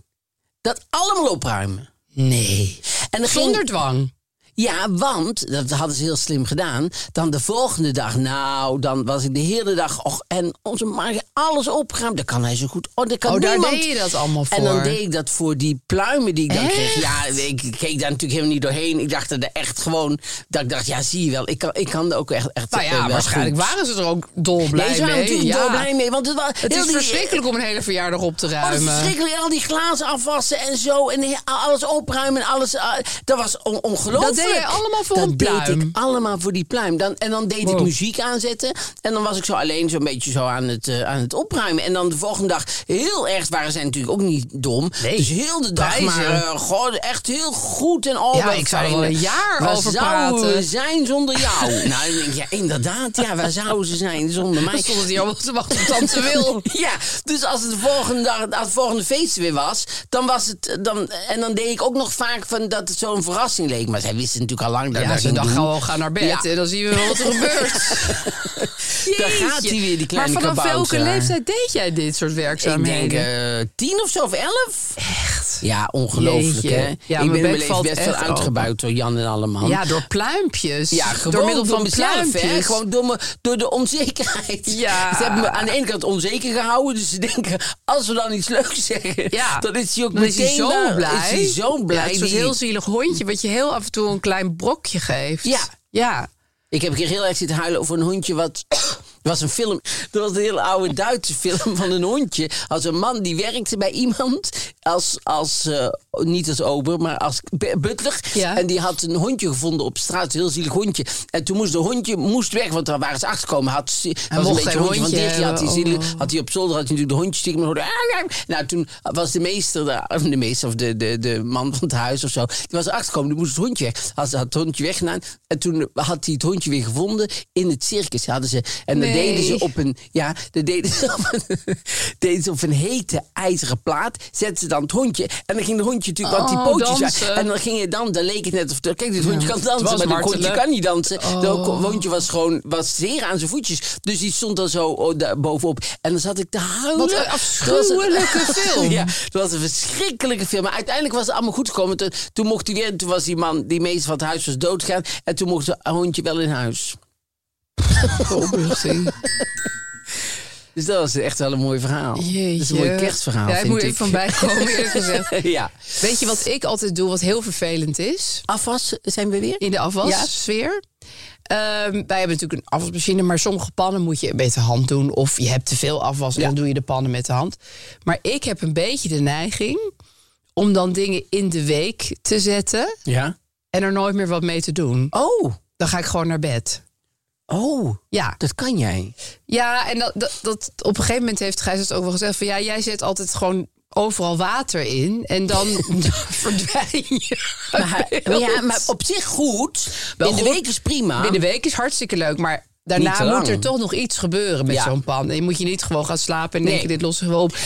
Speaker 4: dat allemaal opruimen.
Speaker 3: Nee.
Speaker 4: En dan ging-
Speaker 3: Zonder dwang.
Speaker 4: ja, want, dat hadden ze heel slim gedaan, dan de volgende dag, nou, dan was ik de hele dag, och, en onze maag alles opgeruimd. Dat kan hij zo goed. Oh, dat kan
Speaker 3: Oh, daar
Speaker 4: niemand.
Speaker 3: deed je dat allemaal
Speaker 4: En dan
Speaker 3: voor?
Speaker 4: deed ik dat voor die pluimen die ik dan kreeg.
Speaker 3: Echt?
Speaker 4: Ja, ik keek daar natuurlijk helemaal niet doorheen. Ik dacht er echt gewoon, dat ik dacht, ja, zie je wel, ik kan, ik kan er ook echt, echt
Speaker 3: Nou
Speaker 4: eh,
Speaker 3: ja,
Speaker 4: wel
Speaker 3: waarschijnlijk
Speaker 4: goed.
Speaker 3: waren ze er ook dolblij
Speaker 4: Nee, ze waren
Speaker 3: mee.
Speaker 4: natuurlijk
Speaker 3: ja.
Speaker 4: wel blij mee, want het was
Speaker 3: Het
Speaker 4: heel
Speaker 3: is
Speaker 4: die-
Speaker 3: verschrikkelijk om een hele verjaardag op te
Speaker 4: Oh, dat
Speaker 3: ruimen.
Speaker 4: is verschrikkelijk. En al die glazen afwassen en zo. En he- alles opruimen en alles. ah, dat was on- ongelooflijk.
Speaker 3: Dat deed je allemaal voor
Speaker 4: dat
Speaker 3: een
Speaker 4: deed
Speaker 3: pluim.
Speaker 4: ik allemaal voor die pluim. Dan, en dan deed
Speaker 3: Wow.
Speaker 4: ik muziek aanzetten. En dan was ik zo alleen zo'n beetje zo aan het, eh, aan het opruimen. En dan de volgende dag, heel erg waren zij natuurlijk ook niet dom.
Speaker 3: Nee.
Speaker 4: Dus heel de dag
Speaker 3: Wijzer.
Speaker 4: maar, eh, goh, echt heel goed en al.
Speaker 3: Ja, ik zou er wel een jaar
Speaker 4: waar
Speaker 3: over
Speaker 4: zouden we
Speaker 3: praten.
Speaker 4: zijn zonder jou? nou, dan denk ik, ja, inderdaad. Ja, waar zouden ze zijn zonder mij?
Speaker 3: Dan stonden die allemaal te wachten op tante Wil.
Speaker 4: Ja, dus als het de volgende dag, als het volgende feest weer was, dan was het, eh, dan, en dan deed ik ook nog vaak van dat het zo'n verrassing leek. Maar zij wist wisten natuurlijk al lang dat
Speaker 3: Ja,
Speaker 4: dat
Speaker 3: ze
Speaker 4: ging
Speaker 3: dacht
Speaker 4: doen.
Speaker 3: gewoon, ga naar bed
Speaker 4: Ja.
Speaker 3: en dan zien we wel wat er gebeurt.
Speaker 4: Daar
Speaker 3: Jeetje.
Speaker 4: gaat hij weer, die kleine
Speaker 3: Maar vanaf
Speaker 4: kabouter.
Speaker 3: welke leeftijd deed jij dit soort
Speaker 4: Ik
Speaker 3: werkzaamheden?
Speaker 4: denk eh, tien of zo, of elf. Echt? Ja, ongelooflijk,
Speaker 3: Jeetje.
Speaker 4: hè?
Speaker 3: Ja,
Speaker 4: ik ben
Speaker 3: mijn
Speaker 4: in
Speaker 3: bek
Speaker 4: mijn leven
Speaker 3: valt
Speaker 4: best wel
Speaker 3: echt open.
Speaker 4: uitgebuit door Jan en allemaal.
Speaker 3: ja, door pluimpjes.
Speaker 4: Ja, gewoon
Speaker 3: door middel
Speaker 4: door
Speaker 3: van
Speaker 4: mezelf, hè.
Speaker 3: pluimpjes.
Speaker 4: Gewoon door, me, door de onzekerheid.
Speaker 3: Ja.
Speaker 4: Ze hebben me aan de ene kant onzeker gehouden. Dus ze denken, als we dan iets leuks zeggen,
Speaker 3: Ja.
Speaker 4: dan is hij ook
Speaker 3: Dan is
Speaker 4: meteen
Speaker 3: hij zo
Speaker 4: daar-
Speaker 3: blij.
Speaker 4: Is hij zo blij.
Speaker 3: Ja, het is een
Speaker 4: die-
Speaker 3: heel zielig hondje wat je heel af en toe een klein brokje geeft.
Speaker 4: Ja.
Speaker 3: Ja.
Speaker 4: Ik heb een keer heel erg zitten huilen over een hondje wat... Er was een film, er was een hele oude Duitse film van een hondje. Als een man die werkte bij iemand, als, als, eh, niet als ober, maar als b- butler.
Speaker 3: Ja.
Speaker 4: En die had een hondje gevonden op straat, een heel zielig hondje. En toen moest de hondje moest weg, want daar waren ze achtergekomen. Had, ze- was een
Speaker 3: mocht
Speaker 4: beetje
Speaker 3: geen
Speaker 4: een hondje van
Speaker 3: hondje
Speaker 4: dicht, die had hij
Speaker 3: hebben.
Speaker 4: zielig,
Speaker 3: Oh.
Speaker 4: had hij op zolder had hij natuurlijk de hondjes stiekem hoorde. "Ah, ah." Nou, toen was de meester, daar, of de meester of de, de, de man van het huis of zo, die was erachter gekomen, die moest het hondje weg. Had, had het hondje weggedaan en toen had hij het hondje weer gevonden in het circus. Hadden ze, en dat
Speaker 3: Nee.
Speaker 4: deden ze op een, ja, dat deden ze op een, deden ze op een hete ijzeren plaat, zetten ze dan het hondje en dan ging het hondje natuurlijk, want
Speaker 3: Oh,
Speaker 4: die pootjes
Speaker 3: dansen.
Speaker 4: en dan ging je dan, dan leek het net of, kijk, dit hondje kan dansen,
Speaker 3: was
Speaker 4: maar dit hondje
Speaker 3: martelen.
Speaker 4: kan niet dansen.
Speaker 3: Oh.
Speaker 4: Dat hondje was gewoon, was zeer aan zijn voetjes, dus die stond dan zo oh, daar bovenop en dan zat ik te huilen.
Speaker 3: Wat een afschuwelijke
Speaker 4: Dat was een-
Speaker 3: film.
Speaker 4: ja, het was een verschrikkelijke film. Maar uiteindelijk was het allemaal goed gekomen. Toen, toen mocht hij weer, toen was die man, die meester van het huis was doodgaan. En toen mocht het hondje wel in huis.
Speaker 3: Opluchting.
Speaker 4: Dus dat was echt wel een mooi verhaal.
Speaker 3: Jeetje.
Speaker 4: Dat is een mooi kerstverhaal,
Speaker 3: Ja, ik
Speaker 4: vind
Speaker 3: moet
Speaker 4: ik.
Speaker 3: even van bijkomen eerlijk gezegd.
Speaker 4: ja.
Speaker 3: Weet je wat ik altijd doe, wat heel vervelend is?
Speaker 4: Afwas, zijn we weer?
Speaker 3: In de afwassfeer. Ehm, wij hebben natuurlijk een afwasmachine, maar sommige pannen moet je met de hand doen. Of je hebt te veel afwas en dan doe je de pannen met de hand. Maar ik heb een beetje de neiging om dan dingen in de week te zetten
Speaker 4: Ja.
Speaker 3: en er nooit meer wat mee te doen.
Speaker 4: Oh,
Speaker 3: Dan ga ik gewoon naar bed.
Speaker 4: oh,
Speaker 3: Ja,
Speaker 4: dat kan jij.
Speaker 3: ja en dat, dat, dat, op een gegeven moment heeft Gijs het ook wel gezegd van ja, jij zet altijd gewoon overal water in en dan verdwijn je.
Speaker 4: Maar, maar ja, maar op zich goed.
Speaker 3: Wel
Speaker 4: in de
Speaker 3: goed.
Speaker 4: week is prima.
Speaker 3: Binnen de week is hartstikke leuk, maar
Speaker 4: Niet te
Speaker 3: daarna
Speaker 4: lang.
Speaker 3: moet er toch nog iets gebeuren met
Speaker 4: Ja.
Speaker 3: zo'n pan. En je moet je niet gewoon gaan slapen en
Speaker 4: Nee.
Speaker 3: denken, dit lossen we op.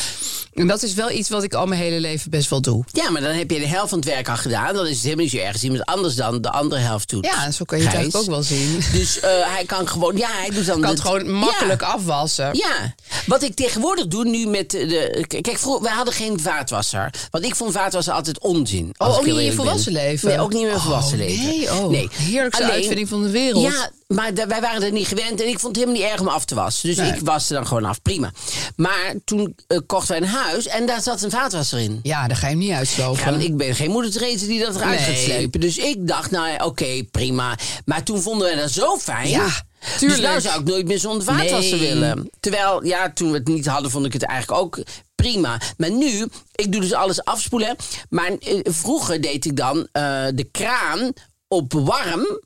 Speaker 3: En dat is wel iets wat ik al mijn hele leven best wel doe.
Speaker 4: Ja, maar dan heb je de helft van het werk al gedaan. Dan is het helemaal niet zo erg als iemand anders dan de andere helft doet.
Speaker 3: Ja, zo kan je het
Speaker 4: Gijs.
Speaker 3: eigenlijk ook wel zien.
Speaker 4: Dus eh, hij kan gewoon, ja, hij doet dan.
Speaker 3: Ik kan het
Speaker 4: de-
Speaker 3: gewoon makkelijk
Speaker 4: Ja.
Speaker 3: afwassen.
Speaker 4: Ja, wat ik tegenwoordig doe nu met de... de- k- kijk, vroeger, wij hadden geen vaatwasser. Want ik vond vaatwasser altijd onzin. Oh, als ik heel
Speaker 3: ook niet in je
Speaker 4: eerlijk ben.
Speaker 3: volwassen leven?
Speaker 4: Nee, ook niet in mijn
Speaker 3: Oh,
Speaker 4: volwassen leven.
Speaker 3: nee, oh. Heerlijkste uitvinding van de wereld.
Speaker 4: Ja, maar da- wij waren er niet gewend. En ik vond het helemaal niet erg om af te wassen. Dus
Speaker 3: Nee.
Speaker 4: ik waste dan gewoon af. Prima. Maar toen eh, kochten wij een huis en daar zat een vaatwasser in.
Speaker 3: Ja, daar ga je hem niet
Speaker 4: Ja,
Speaker 3: uitslopen.
Speaker 4: want ik ben geen moeder Therese die dat eruit
Speaker 3: Nee.
Speaker 4: gaat slepen. Dus ik dacht, nou ja, oké, prima. Maar toen vonden wij dat zo fijn.
Speaker 3: Ja,
Speaker 4: Dus
Speaker 3: tuurlijk.
Speaker 4: nou zou ik nooit meer zonder vaatwasser
Speaker 3: Nee.
Speaker 4: willen. Terwijl, ja, toen we het niet hadden, vond ik het eigenlijk ook prima. Maar nu, ik doe dus alles afspoelen. Maar eh, vroeger deed ik dan eh, de kraan op warm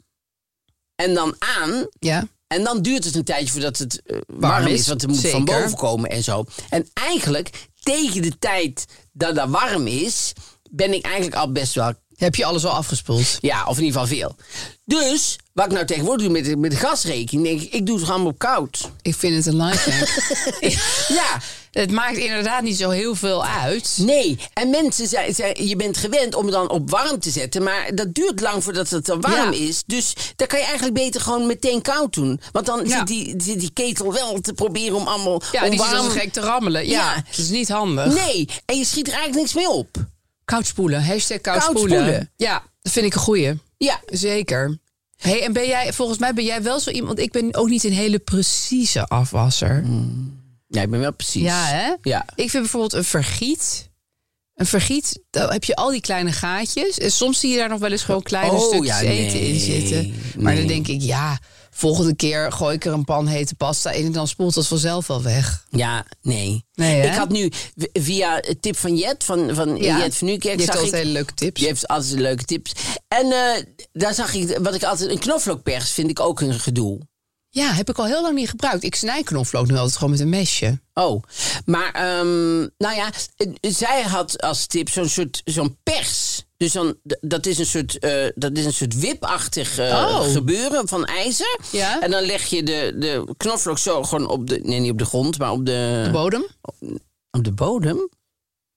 Speaker 4: en dan aan.
Speaker 3: Ja.
Speaker 4: En dan duurt het een tijdje voordat het eh, warm,
Speaker 3: Warm
Speaker 4: is,
Speaker 3: is,
Speaker 4: want het moet van
Speaker 3: zeker.
Speaker 4: boven komen en zo. En eigenlijk, tegen de tijd dat dat warm is, ben ik eigenlijk al best wel,
Speaker 3: Heb je alles al afgespoeld?
Speaker 4: ja, of in ieder geval veel. Dus, wat ik nou tegenwoordig doe met de, met de gasrekening, denk ik, ik doe het gewoon op koud.
Speaker 3: Ik vind het een lifehack.
Speaker 4: Ja,
Speaker 3: het maakt inderdaad niet zo heel veel uit.
Speaker 4: nee. En mensen zijn, zijn- je bent gewend om het dan op warm te zetten, maar dat duurt lang voordat het dan warm
Speaker 3: Ja.
Speaker 4: is. Dus dan kan je eigenlijk beter gewoon meteen koud doen. Want dan
Speaker 3: Ja.
Speaker 4: zit, die, zit die ketel wel te proberen om allemaal
Speaker 3: Ja,
Speaker 4: om
Speaker 3: die zit
Speaker 4: warm...
Speaker 3: als een gek te rammelen. Ja,
Speaker 4: Ja.
Speaker 3: dat is niet handig.
Speaker 4: Nee, en je schiet er eigenlijk niks mee op.
Speaker 3: Koud spoelen. Hashtag koud,
Speaker 4: Koud
Speaker 3: spoelen.
Speaker 4: spoelen.
Speaker 3: Ja, dat vind ik een goeie.
Speaker 4: Ja.
Speaker 3: Zeker. Hey, en ben jij, volgens mij ben jij wel zo iemand... Ik ben ook niet een hele precieze afwasser.
Speaker 4: Mm.
Speaker 3: Dus
Speaker 4: Ja, ik ben wel precies.
Speaker 3: Ja, hè?
Speaker 4: Ja.
Speaker 3: Ik vind bijvoorbeeld een vergiet... Een vergiet, daar heb je al die kleine gaatjes. En soms zie je daar nog wel eens gewoon kleine
Speaker 4: Oh,
Speaker 3: stukjes
Speaker 4: ja,
Speaker 3: eten in
Speaker 4: nee,
Speaker 3: zitten. Maar
Speaker 4: nee.
Speaker 3: dan denk ik, ja, volgende keer gooi ik er een pan hete pasta in... en dan spoelt dat vanzelf wel weg.
Speaker 4: Ja, nee.
Speaker 3: Nee, hè?
Speaker 4: ik had nu w- via het tip van Jet, van, van Jet van
Speaker 3: je
Speaker 4: Nieuwkerk,
Speaker 3: hebt
Speaker 4: zag
Speaker 3: altijd
Speaker 4: ik...
Speaker 3: hele leuke tips.
Speaker 4: Je hebt altijd leuke tips. En eh, daar zag ik, wat ik altijd... Een knoflookpers vind ik ook een gedoe.
Speaker 3: Ja, heb ik al heel lang niet gebruikt. Ik snij knoflook nu altijd gewoon met een mesje.
Speaker 4: Oh, maar ehm, nou ja, eh, zij had als tip zo'n soort zo'n pers. Dus dan, d- dat is een soort, eh, dat is een soort wipachtig eh,
Speaker 3: Oh.
Speaker 4: gebeuren van ijzer.
Speaker 3: Ja.
Speaker 4: En dan leg je de, de knoflook zo gewoon op de, nee niet op de grond, maar op de,
Speaker 3: Bodem?
Speaker 4: op de bodem.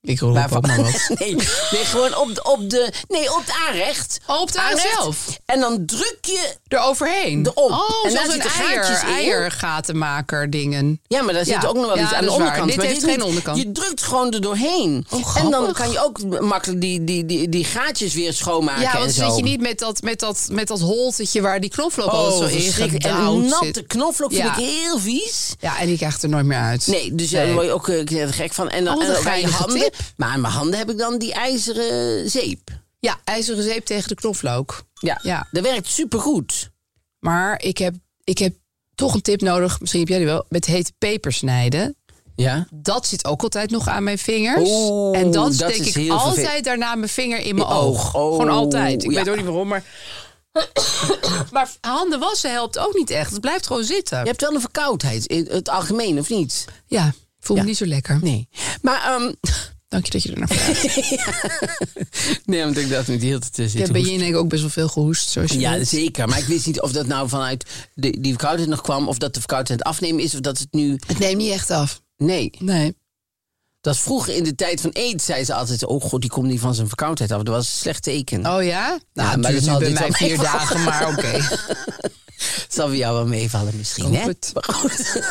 Speaker 3: Ik roep
Speaker 4: Waarvan-
Speaker 3: ook maar wat.
Speaker 4: nee, nee, gewoon op de, op de. Nee, op het aanrecht.
Speaker 3: Oh, op het aanrecht zelf?
Speaker 4: En dan druk je.
Speaker 3: Eroverheen.
Speaker 4: Erop.
Speaker 3: Oh,
Speaker 4: En daar
Speaker 3: zoals een
Speaker 4: zitten
Speaker 3: eier,
Speaker 4: gaatjes in.
Speaker 3: eiergatenmaker dingen.
Speaker 4: Ja, maar daar
Speaker 3: Ja.
Speaker 4: zit ook nog wel
Speaker 3: Ja,
Speaker 4: iets aan de
Speaker 3: dat is waar.
Speaker 4: onderkant.
Speaker 3: Dit
Speaker 4: maar
Speaker 3: heeft geen
Speaker 4: niet.
Speaker 3: onderkant.
Speaker 4: Je drukt gewoon er doorheen. en dan
Speaker 3: grappig.
Speaker 4: kan je ook makkelijk die, die, die, die gaatjes weer schoonmaken.
Speaker 3: ja,
Speaker 4: en
Speaker 3: want dan
Speaker 4: zo.
Speaker 3: zit je niet met dat, met dat, met dat holtetje waar die knoflook
Speaker 4: Oh,
Speaker 3: altijd zo in
Speaker 4: verschrikkelijk. En
Speaker 3: gedouwd
Speaker 4: een
Speaker 3: zit.
Speaker 4: natte knoflook vind
Speaker 3: Ja.
Speaker 4: ik heel vies.
Speaker 3: Ja, en die krijgt er nooit meer uit.
Speaker 4: Nee, dus daar word je ook eh, gek van. En
Speaker 3: Oh,
Speaker 4: dan,
Speaker 3: wat
Speaker 4: en
Speaker 3: een
Speaker 4: dan bij je
Speaker 3: geinige
Speaker 4: handen.
Speaker 3: tip.
Speaker 4: Maar aan mijn handen heb ik dan die ijzeren zeep.
Speaker 3: Ja, ijzeren zeep tegen de knoflook.
Speaker 4: Ja,
Speaker 3: Ja.
Speaker 4: dat werkt supergoed.
Speaker 3: Maar ik heb, ik heb toch een tip nodig. Misschien heb jij die wel. Met hete peper snijden.
Speaker 4: Ja.
Speaker 3: Dat zit ook altijd nog aan mijn vingers.
Speaker 4: Oeh,
Speaker 3: en dan
Speaker 4: dat is
Speaker 3: steek ik
Speaker 4: heel
Speaker 3: altijd
Speaker 4: vervel-
Speaker 3: daarna mijn vinger in mijn
Speaker 4: Je
Speaker 3: oog.
Speaker 4: oog. Oh,
Speaker 3: Gewoon altijd. Ik
Speaker 4: ja.
Speaker 3: weet ook niet waarom, maar... maar handen wassen helpt ook niet echt. Het blijft gewoon zitten.
Speaker 4: Je hebt wel een verkoudheid in het algemeen, of niet?
Speaker 3: Ja, voel me
Speaker 4: Ja.
Speaker 3: niet zo lekker.
Speaker 4: Nee. Maar, ehm
Speaker 3: Dank je dat je er naar vraagt.
Speaker 4: nee, want ik dacht niet heel te zitten.
Speaker 3: Ja, ben je in denk ik ook best wel veel gehoest, zoals je
Speaker 4: Ja,
Speaker 3: weet.
Speaker 4: zeker. Maar ik wist niet of dat nou vanuit de, die verkoudheid nog kwam... of dat de verkoudheid aan het afnemen is, of dat het nu...
Speaker 3: Het neemt niet echt af.
Speaker 4: Nee,
Speaker 3: Nee.
Speaker 4: dat is vroeger in de tijd van eet, zei ze altijd... oh god, die komt niet van zijn verkoudheid af. Dat was een slecht teken.
Speaker 3: Oh ja? Nou,
Speaker 4: maar
Speaker 3: het
Speaker 4: dat
Speaker 3: duurt nu
Speaker 4: zal
Speaker 3: bij
Speaker 4: dit
Speaker 3: mij
Speaker 4: wel
Speaker 3: vier
Speaker 4: meevallen.
Speaker 3: dagen, maar oké.
Speaker 4: zal bij jou wel meevallen misschien,
Speaker 3: Hoop
Speaker 4: hè?
Speaker 3: het.
Speaker 4: Maar goed.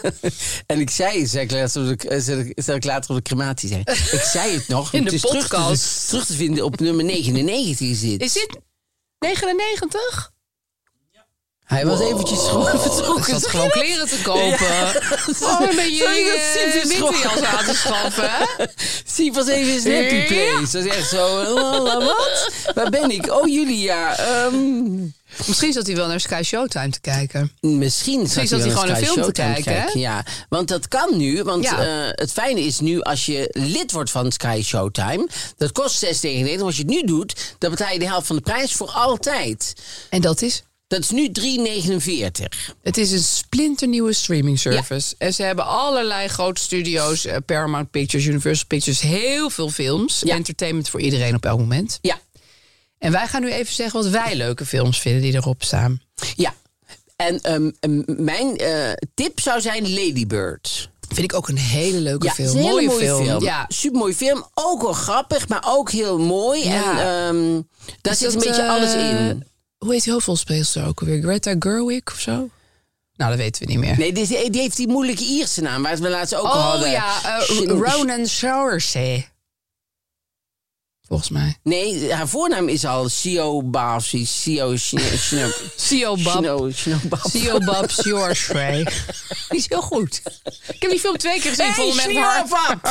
Speaker 4: en ik zei, zei ik later op de, eh, zei ik- zei ik later op de crematie, zei ik. ik zei het nog.
Speaker 3: In
Speaker 4: het
Speaker 3: de
Speaker 4: is Terug
Speaker 3: podcast.
Speaker 4: te, terug te vinden op nummer 99 zit.
Speaker 3: Is dit 99?
Speaker 4: Hij was eventjes gewoon vertrokken.
Speaker 3: zat gewoon kleren te kopen. Oh, dan ben je
Speaker 4: Sorry, dat
Speaker 3: je,
Speaker 4: Sip
Speaker 3: eh,
Speaker 4: is
Speaker 3: winterjas
Speaker 4: gewoon-
Speaker 3: aan te schaffen, hè?
Speaker 4: Siep was even in zijn happy
Speaker 3: Ja.
Speaker 4: place. Dat is echt zo, lala, wat? Waar ben ik? Oh, Julia. ehm,
Speaker 3: Misschien zat hij wel naar Sky Showtime te kijken.
Speaker 4: Misschien zat
Speaker 3: zat hij
Speaker 4: hij wel
Speaker 3: gewoon
Speaker 4: eens
Speaker 3: een
Speaker 4: Sky
Speaker 3: film te
Speaker 4: Showtime
Speaker 3: kijken, hè?
Speaker 4: Ja, want dat kan nu. Want
Speaker 3: Ja.
Speaker 4: eh, het fijne is nu als je lid wordt van Sky Showtime. Dat kost 6,99. Maar Als je het nu doet, dan betaal je de helft van de prijs voor altijd.
Speaker 3: En dat is?
Speaker 4: Dat is nu 3,49.
Speaker 3: Het is een splinternieuwe streaming service. En ze hebben allerlei grote studio's. eh, Paramount Pictures, Universal Pictures. Heel veel films.
Speaker 4: Ja.
Speaker 3: Entertainment voor iedereen op elk moment.
Speaker 4: Ja.
Speaker 3: En wij gaan nu even zeggen wat wij leuke films vinden die erop staan.
Speaker 4: Ja. En ehm, ehm, mijn eh, tip zou zijn Ladybird.
Speaker 3: Vind ik ook een hele leuke
Speaker 4: Ja,
Speaker 3: film.
Speaker 4: het is een hele mooie film.
Speaker 3: Ja.
Speaker 4: Supermooie film. Ook wel grappig, maar ook heel mooi. En
Speaker 3: Ja.
Speaker 4: ehm, daar
Speaker 3: Is
Speaker 4: zit een
Speaker 3: dat,
Speaker 4: beetje
Speaker 3: eh,
Speaker 4: alles in.
Speaker 3: Hoe heet die hoofdrolspeelster ook alweer? Greta Gerwig of zo? Nou, dat weten we niet meer.
Speaker 4: Nee, die, die heeft die moeilijke Ierse naam, waar we laatst ook al
Speaker 3: oh
Speaker 4: hadden.
Speaker 3: ja, eh,
Speaker 4: Shin-
Speaker 3: Ronan Sowerse. Volgens mij.
Speaker 4: Nee, haar voornaam is al Sioba of zoiets. Sio Sino...
Speaker 3: Siobab.
Speaker 4: Sino... Sinobab.
Speaker 3: Siobab Sowerse. Die is heel goed. Ik heb die film twee keer gezien.
Speaker 4: Hey,
Speaker 3: volgens mij met haar.
Speaker 4: Sinobab!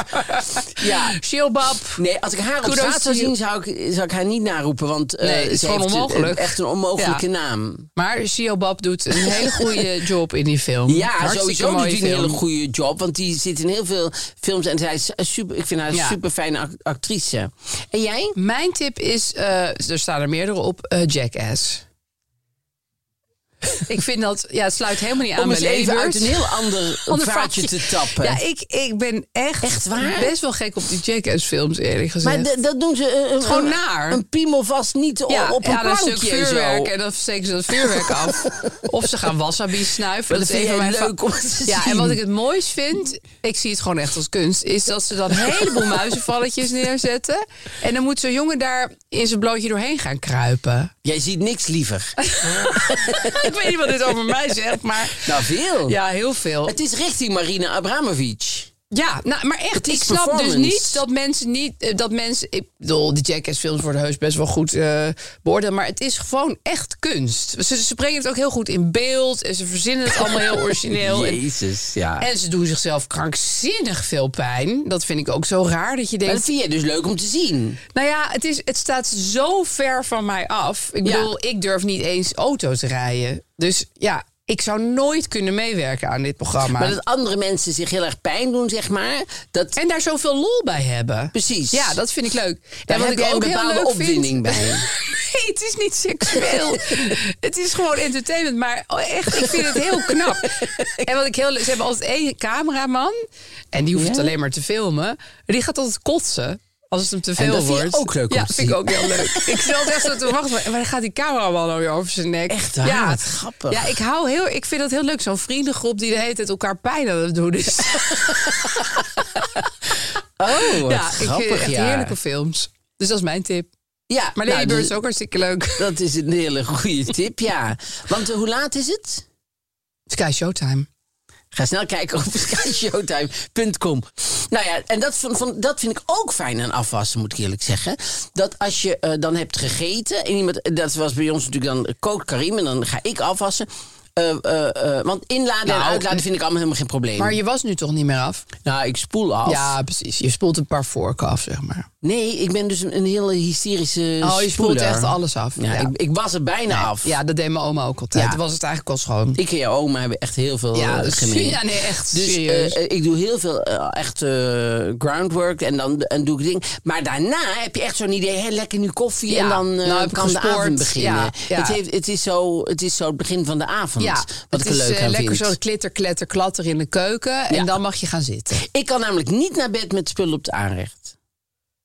Speaker 4: Ja.
Speaker 3: Siobab.
Speaker 4: Nee, als ik haar op
Speaker 3: Kudos
Speaker 4: straat zou
Speaker 3: to you.
Speaker 4: zien, zou ik, zou ik haar niet naroepen. Want eh,
Speaker 3: Nee, het is
Speaker 4: ze
Speaker 3: gewoon
Speaker 4: heeft, eh,
Speaker 3: onmogelijk.
Speaker 4: Echt een onmogelijke
Speaker 3: Ja.
Speaker 4: naam.
Speaker 3: Maar Siobab doet een hele goede job in die film.
Speaker 4: Ja,
Speaker 3: Hartstikke
Speaker 4: sowieso doet
Speaker 3: mooie
Speaker 4: die een hele
Speaker 3: film.
Speaker 4: goede job. Want die zit in heel veel films. En zij is een super, ik vind haar een
Speaker 3: Ja.
Speaker 4: super fijne actrice. En jij?
Speaker 3: Mijn tip is, eh, er staan er meerdere op, eh, Jackass. ik vind dat, ja, het sluit helemaal niet aan
Speaker 4: Om
Speaker 3: bij
Speaker 4: eens even
Speaker 3: Ladybird.
Speaker 4: uit een heel ander,
Speaker 3: Ander
Speaker 4: vaatje te tappen.
Speaker 3: Ja, ik, ik ben echt,
Speaker 4: Echt waar?
Speaker 3: best wel gek op die Jackass films eerlijk gezegd.
Speaker 4: Maar d- dat doen ze eh, een,
Speaker 3: Gewoon
Speaker 4: een-
Speaker 3: naar.
Speaker 4: Een piemel vast niet o-
Speaker 3: ja,
Speaker 4: op een
Speaker 3: ja, dan
Speaker 4: plankje
Speaker 3: een stuk vuurwerk
Speaker 4: zo.
Speaker 3: en dan steken ze dat vuurwerk af. Of ze gaan wasabi snuiven.
Speaker 4: Maar dat
Speaker 3: is
Speaker 4: vind
Speaker 3: een
Speaker 4: jij
Speaker 3: van mijn
Speaker 4: leuk
Speaker 3: fa-
Speaker 4: om te
Speaker 3: Ja, en
Speaker 4: zien.
Speaker 3: wat ik het mooist vind, ik zie het gewoon echt als kunst, is dat ze dan een heleboel muizenvalletjes neerzetten. En dan moet zo'n jongen daar in zijn blootje doorheen gaan kruipen.
Speaker 4: Jij ziet niks liever.
Speaker 3: ik weet niet wat dit over mij zegt, maar.
Speaker 4: nou, veel.
Speaker 3: Ja, heel veel.
Speaker 4: Het is richting Marina Abramovic.
Speaker 3: Ja, nou, maar echt,
Speaker 4: Het is
Speaker 3: ik snap dus
Speaker 4: performance.
Speaker 3: niet dat mensen niet... eh, Dat mensen, ik bedoel, de Jackass-films worden heus best wel goed eh beoordeeld... maar het is gewoon echt kunst. Ze, ze brengen het ook heel goed in beeld... en ze verzinnen het allemaal heel origineel. En,
Speaker 4: Jezus, ja.
Speaker 3: en ze doen zichzelf krankzinnig veel pijn. Dat vind ik ook zo raar, dat je
Speaker 4: Maar
Speaker 3: denkt...
Speaker 4: dat vind jij dus leuk om te zien.
Speaker 3: Nou ja, het, is, het staat zo ver van mij af. Ik
Speaker 4: Ja.
Speaker 3: bedoel, ik durf niet eens auto te rijden. Dus ja, ik zou nooit kunnen meewerken aan dit programma.
Speaker 4: Maar dat andere mensen zich heel erg pijn doen, zeg maar. Dat,
Speaker 3: En daar zoveel lol bij hebben.
Speaker 4: precies.
Speaker 3: Ja, dat vind ik leuk.
Speaker 4: Daar
Speaker 3: en wat
Speaker 4: heb
Speaker 3: ik
Speaker 4: jij
Speaker 3: ook
Speaker 4: een
Speaker 3: heel
Speaker 4: bepaalde
Speaker 3: leuk vind,
Speaker 4: opwinding bij.
Speaker 3: nee, het is niet seksueel. het is gewoon entertainment. Maar oh, echt, ik vind het heel knap. En wat ik heel leuk... Ze hebben altijd één cameraman. En die hoeft het alleen maar te filmen. En die gaat altijd kotsen. Als het hem te veel
Speaker 4: dat vind je
Speaker 3: wordt.
Speaker 4: ook leuk om
Speaker 3: Ja,
Speaker 4: te
Speaker 3: vind ik
Speaker 4: zien.
Speaker 3: ook heel leuk. ik zat echt zo te wachten. Maar dan gaat die cameraman alweer over zijn nek.
Speaker 4: Echt waar? Wat grappig.
Speaker 3: Ja, ik, hou heel, ik vind dat heel leuk. Zo'n vriendengroep die de hele tijd elkaar pijn aan het doen is.
Speaker 4: Oh, wat
Speaker 3: ja, ik vind
Speaker 4: grappig,
Speaker 3: echt
Speaker 4: ja.
Speaker 3: heerlijke films. Dus dat is mijn tip.
Speaker 4: Ja,
Speaker 3: Maar Lady
Speaker 4: nou,
Speaker 3: Bird
Speaker 4: dus-
Speaker 3: is ook hartstikke leuk.
Speaker 4: Dat is een hele goede tip, ja. Want eh, hoe laat is het?
Speaker 3: Sky Showtime.
Speaker 4: Ga snel kijken op skyshowtime.com. Nou ja, en dat, van, van, dat vind ik ook fijn aan afwassen, moet ik eerlijk zeggen. Dat als je eh, dan hebt gegeten, en iemand, eh, dat was bij ons natuurlijk dan eh, kookt Karim en dan ga ik afwassen. Eh, eh, eh, want inladen en
Speaker 3: Nou,
Speaker 4: uitladen vind ik allemaal helemaal geen probleem.
Speaker 3: Maar je was nu toch niet meer af?
Speaker 4: Nou, ik spoel af.
Speaker 3: Ja, precies. Je spoelt een paar vorken af, zeg maar.
Speaker 4: Nee, ik ben dus een, een hele hysterische
Speaker 3: Oh, je spoelt
Speaker 4: spoeler.
Speaker 3: echt alles af.
Speaker 4: Ja,
Speaker 3: Ja.
Speaker 4: Ik, ik was er bijna af.
Speaker 3: Ja, dat deed mijn oma ook altijd.
Speaker 4: Ja.
Speaker 3: Toen was het eigenlijk al schoon.
Speaker 4: Ik en jouw oma hebben echt heel veel
Speaker 3: Ja,
Speaker 4: eh,
Speaker 3: dus-
Speaker 4: gemeen.
Speaker 3: ja, nee, echt,
Speaker 4: Dus
Speaker 3: serieus.
Speaker 4: eh, eh, ik doe heel veel eh, echt eh, groundwork en dan en doe ik ding. Maar daarna heb je echt zo'n idee, hé, lekker nu koffie en
Speaker 3: Ja,
Speaker 4: dan eh,
Speaker 3: nou heb ik
Speaker 4: kan
Speaker 3: gesport.
Speaker 4: de avond beginnen.
Speaker 3: Ja, ja.
Speaker 4: Het, heeft, het, is zo, het is zo het begin van de avond,
Speaker 3: ja,
Speaker 4: wat
Speaker 3: het
Speaker 4: ik er
Speaker 3: is
Speaker 4: leuk
Speaker 3: eh,
Speaker 4: aan
Speaker 3: lekker
Speaker 4: vind.
Speaker 3: zo klitter, kletter, klatter in de keuken.
Speaker 4: Ja.
Speaker 3: En dan mag je gaan zitten.
Speaker 4: Ik kan namelijk niet naar bed met spullen op het aanrecht.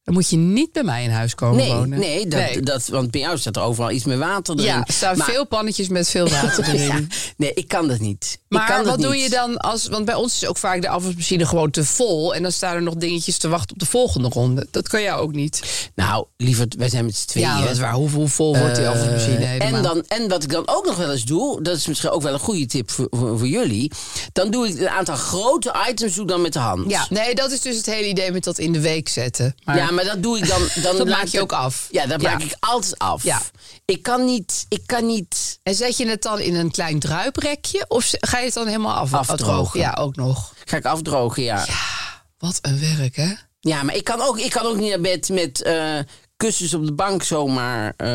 Speaker 3: Dan moet je niet bij mij in huis komen
Speaker 4: Nee,
Speaker 3: wonen.
Speaker 4: nee, dat, Dat, want bij jou staat er overal iets met water erin.
Speaker 3: Ja, er staan
Speaker 4: Maar-
Speaker 3: veel pannetjes met veel water erin.
Speaker 4: Ja, nee, ik kan dat niet. Ik
Speaker 3: Maar
Speaker 4: kan dat
Speaker 3: wat doe
Speaker 4: niet.
Speaker 3: je dan als... Want bij ons is ook vaak de afwasmachine gewoon te vol. En dan staan er nog dingetjes te wachten op de volgende ronde. Dat kan jou ook niet.
Speaker 4: Nou, lieverd, wij zijn met z'n tweeën.
Speaker 3: Ja, dat is waar. Hoe, hoe vol wordt die afwasmachine helemaal?
Speaker 4: En, dan, en wat ik dan ook nog wel eens doe, dat is misschien ook wel een goede tip voor, voor, voor jullie. Dan doe ik een aantal grote items doe ik dan met de hand.
Speaker 3: Ja, nee, dat is dus het hele idee met dat in de week zetten. Maar,
Speaker 4: ja maar dat doe ik dan. dan
Speaker 3: Dat
Speaker 4: laat
Speaker 3: maak je
Speaker 4: ik-
Speaker 3: ook af.
Speaker 4: Ja, dat
Speaker 3: Ja.
Speaker 4: maak ik altijd af.
Speaker 3: Ja.
Speaker 4: Ik kan niet. Ik kan niet.
Speaker 3: En zet je het dan in een klein druiprekje? Of z- ga je het dan helemaal af,
Speaker 4: Afdrogen.
Speaker 3: Ja, ook nog.
Speaker 4: Ga ik afdrogen, ja. ja.
Speaker 3: Wat een werk, hè?
Speaker 4: maar ik kan ook, ik kan ook niet naar bed met eh, kussens op de bank zomaar eh,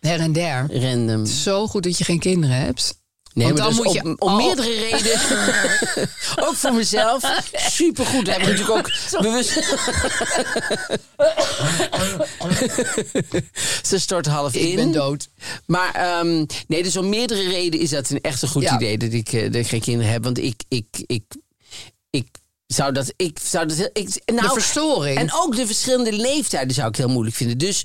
Speaker 3: Her en der.
Speaker 4: random.
Speaker 3: Zo goed dat je geen kinderen hebt.
Speaker 4: Nee,
Speaker 3: Want
Speaker 4: maar
Speaker 3: dan
Speaker 4: dat is
Speaker 3: moet je
Speaker 4: om, om
Speaker 3: al-
Speaker 4: meerdere redenen. ook voor mezelf. Supergoed. Daar heb ik natuurlijk ook bewust... Ze stort half in.
Speaker 3: ben dood.
Speaker 4: Maar ehm, nee, dus om meerdere redenen is dat een echt een goed
Speaker 3: Ja.
Speaker 4: idee... Dat ik, eh, dat ik geen kinderen heb. Want ik... ik, ik, ik zou dat, ik zou dat, ik, nou,
Speaker 3: de verstoring.
Speaker 4: en ook de verschillende leeftijden zou ik heel moeilijk vinden. Dus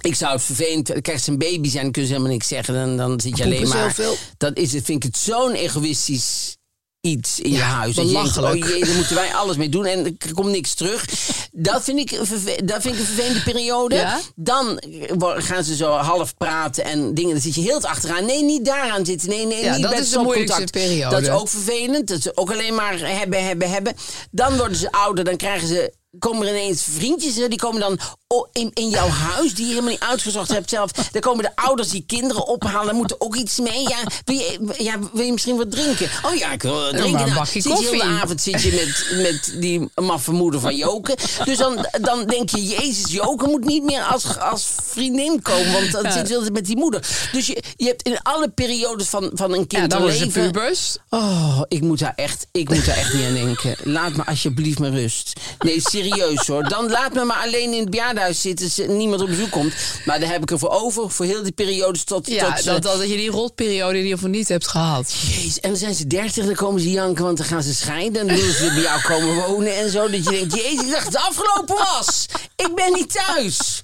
Speaker 4: ik zou het vervelend Kijk, ze een baby zijn, dan kunnen ze helemaal niks zeggen. Dan, dan zit je
Speaker 3: Poepen
Speaker 4: alleen
Speaker 3: ze
Speaker 4: maar.
Speaker 3: heel veel?
Speaker 4: Dat is, het- vind ik het zo'n egoïstisch iets in je huis. Dat je denkt,
Speaker 3: belachelijk.
Speaker 4: oh jee, daar moeten wij alles mee doen en er komt niks terug. Dat vind ik, een verve- dat vind ik een vervelende periode.
Speaker 3: Ja?
Speaker 4: Dan wo- gaan ze zo half praten en dingen. Dan zit je heel het achteraan. Nee, niet daaraan zitten. Nee, nee,
Speaker 3: Ja,
Speaker 4: niet
Speaker 3: dat
Speaker 4: bij
Speaker 3: is
Speaker 4: het
Speaker 3: de moeilijkste
Speaker 4: stopcontact.
Speaker 3: periode.
Speaker 4: Dat is ook vervelend. Dat ze ook alleen maar hebben, hebben, hebben. Dan worden ze ouder, dan krijgen ze. Komen er ineens vriendjes, hè, die komen dan o- in, in jouw huis, die je helemaal niet uitgezocht hebt zelf. Dan komen de ouders die kinderen ophalen, daar moeten ook iets mee. Ja, wil je, ja, wil je misschien wat drinken? Oh ja, ik wil wat drinken.
Speaker 3: maar een
Speaker 4: Nou,
Speaker 3: bakje
Speaker 4: zit je heel de
Speaker 3: koffie.
Speaker 4: avond zit je met, met die maffe moeder van Joken. Dus dan, dan denk je, Jezus, Joken moet niet meer als, als vriendin komen, want dan zit je altijd met die moeder. Dus je, je hebt in alle periodes van, van een kind
Speaker 3: ja, dan
Speaker 4: een
Speaker 3: worden ze
Speaker 4: leven...
Speaker 3: pubers.
Speaker 4: Oh, ik moet daar echt, ik moet daar echt niet aan denken. Laat me alsjeblieft maar rust. Nee, serieus hoor. Dan laat me maar alleen in het bejaardenhuis zitten. Als niemand op bezoek komt. Maar daar heb ik er voor over. Voor heel die periodes tot...
Speaker 3: Ja,
Speaker 4: tot eh, ze-
Speaker 3: dat, dat, dat je die rotperiode in ieder geval niet hebt gehad.
Speaker 4: Jezus, en dan zijn ze dertig, dan komen ze janken, want dan gaan ze scheiden. En dan willen ze bij jou komen wonen en zo. Dat je denkt, jezus, ik dacht dat het afgelopen was. Ik ben niet thuis.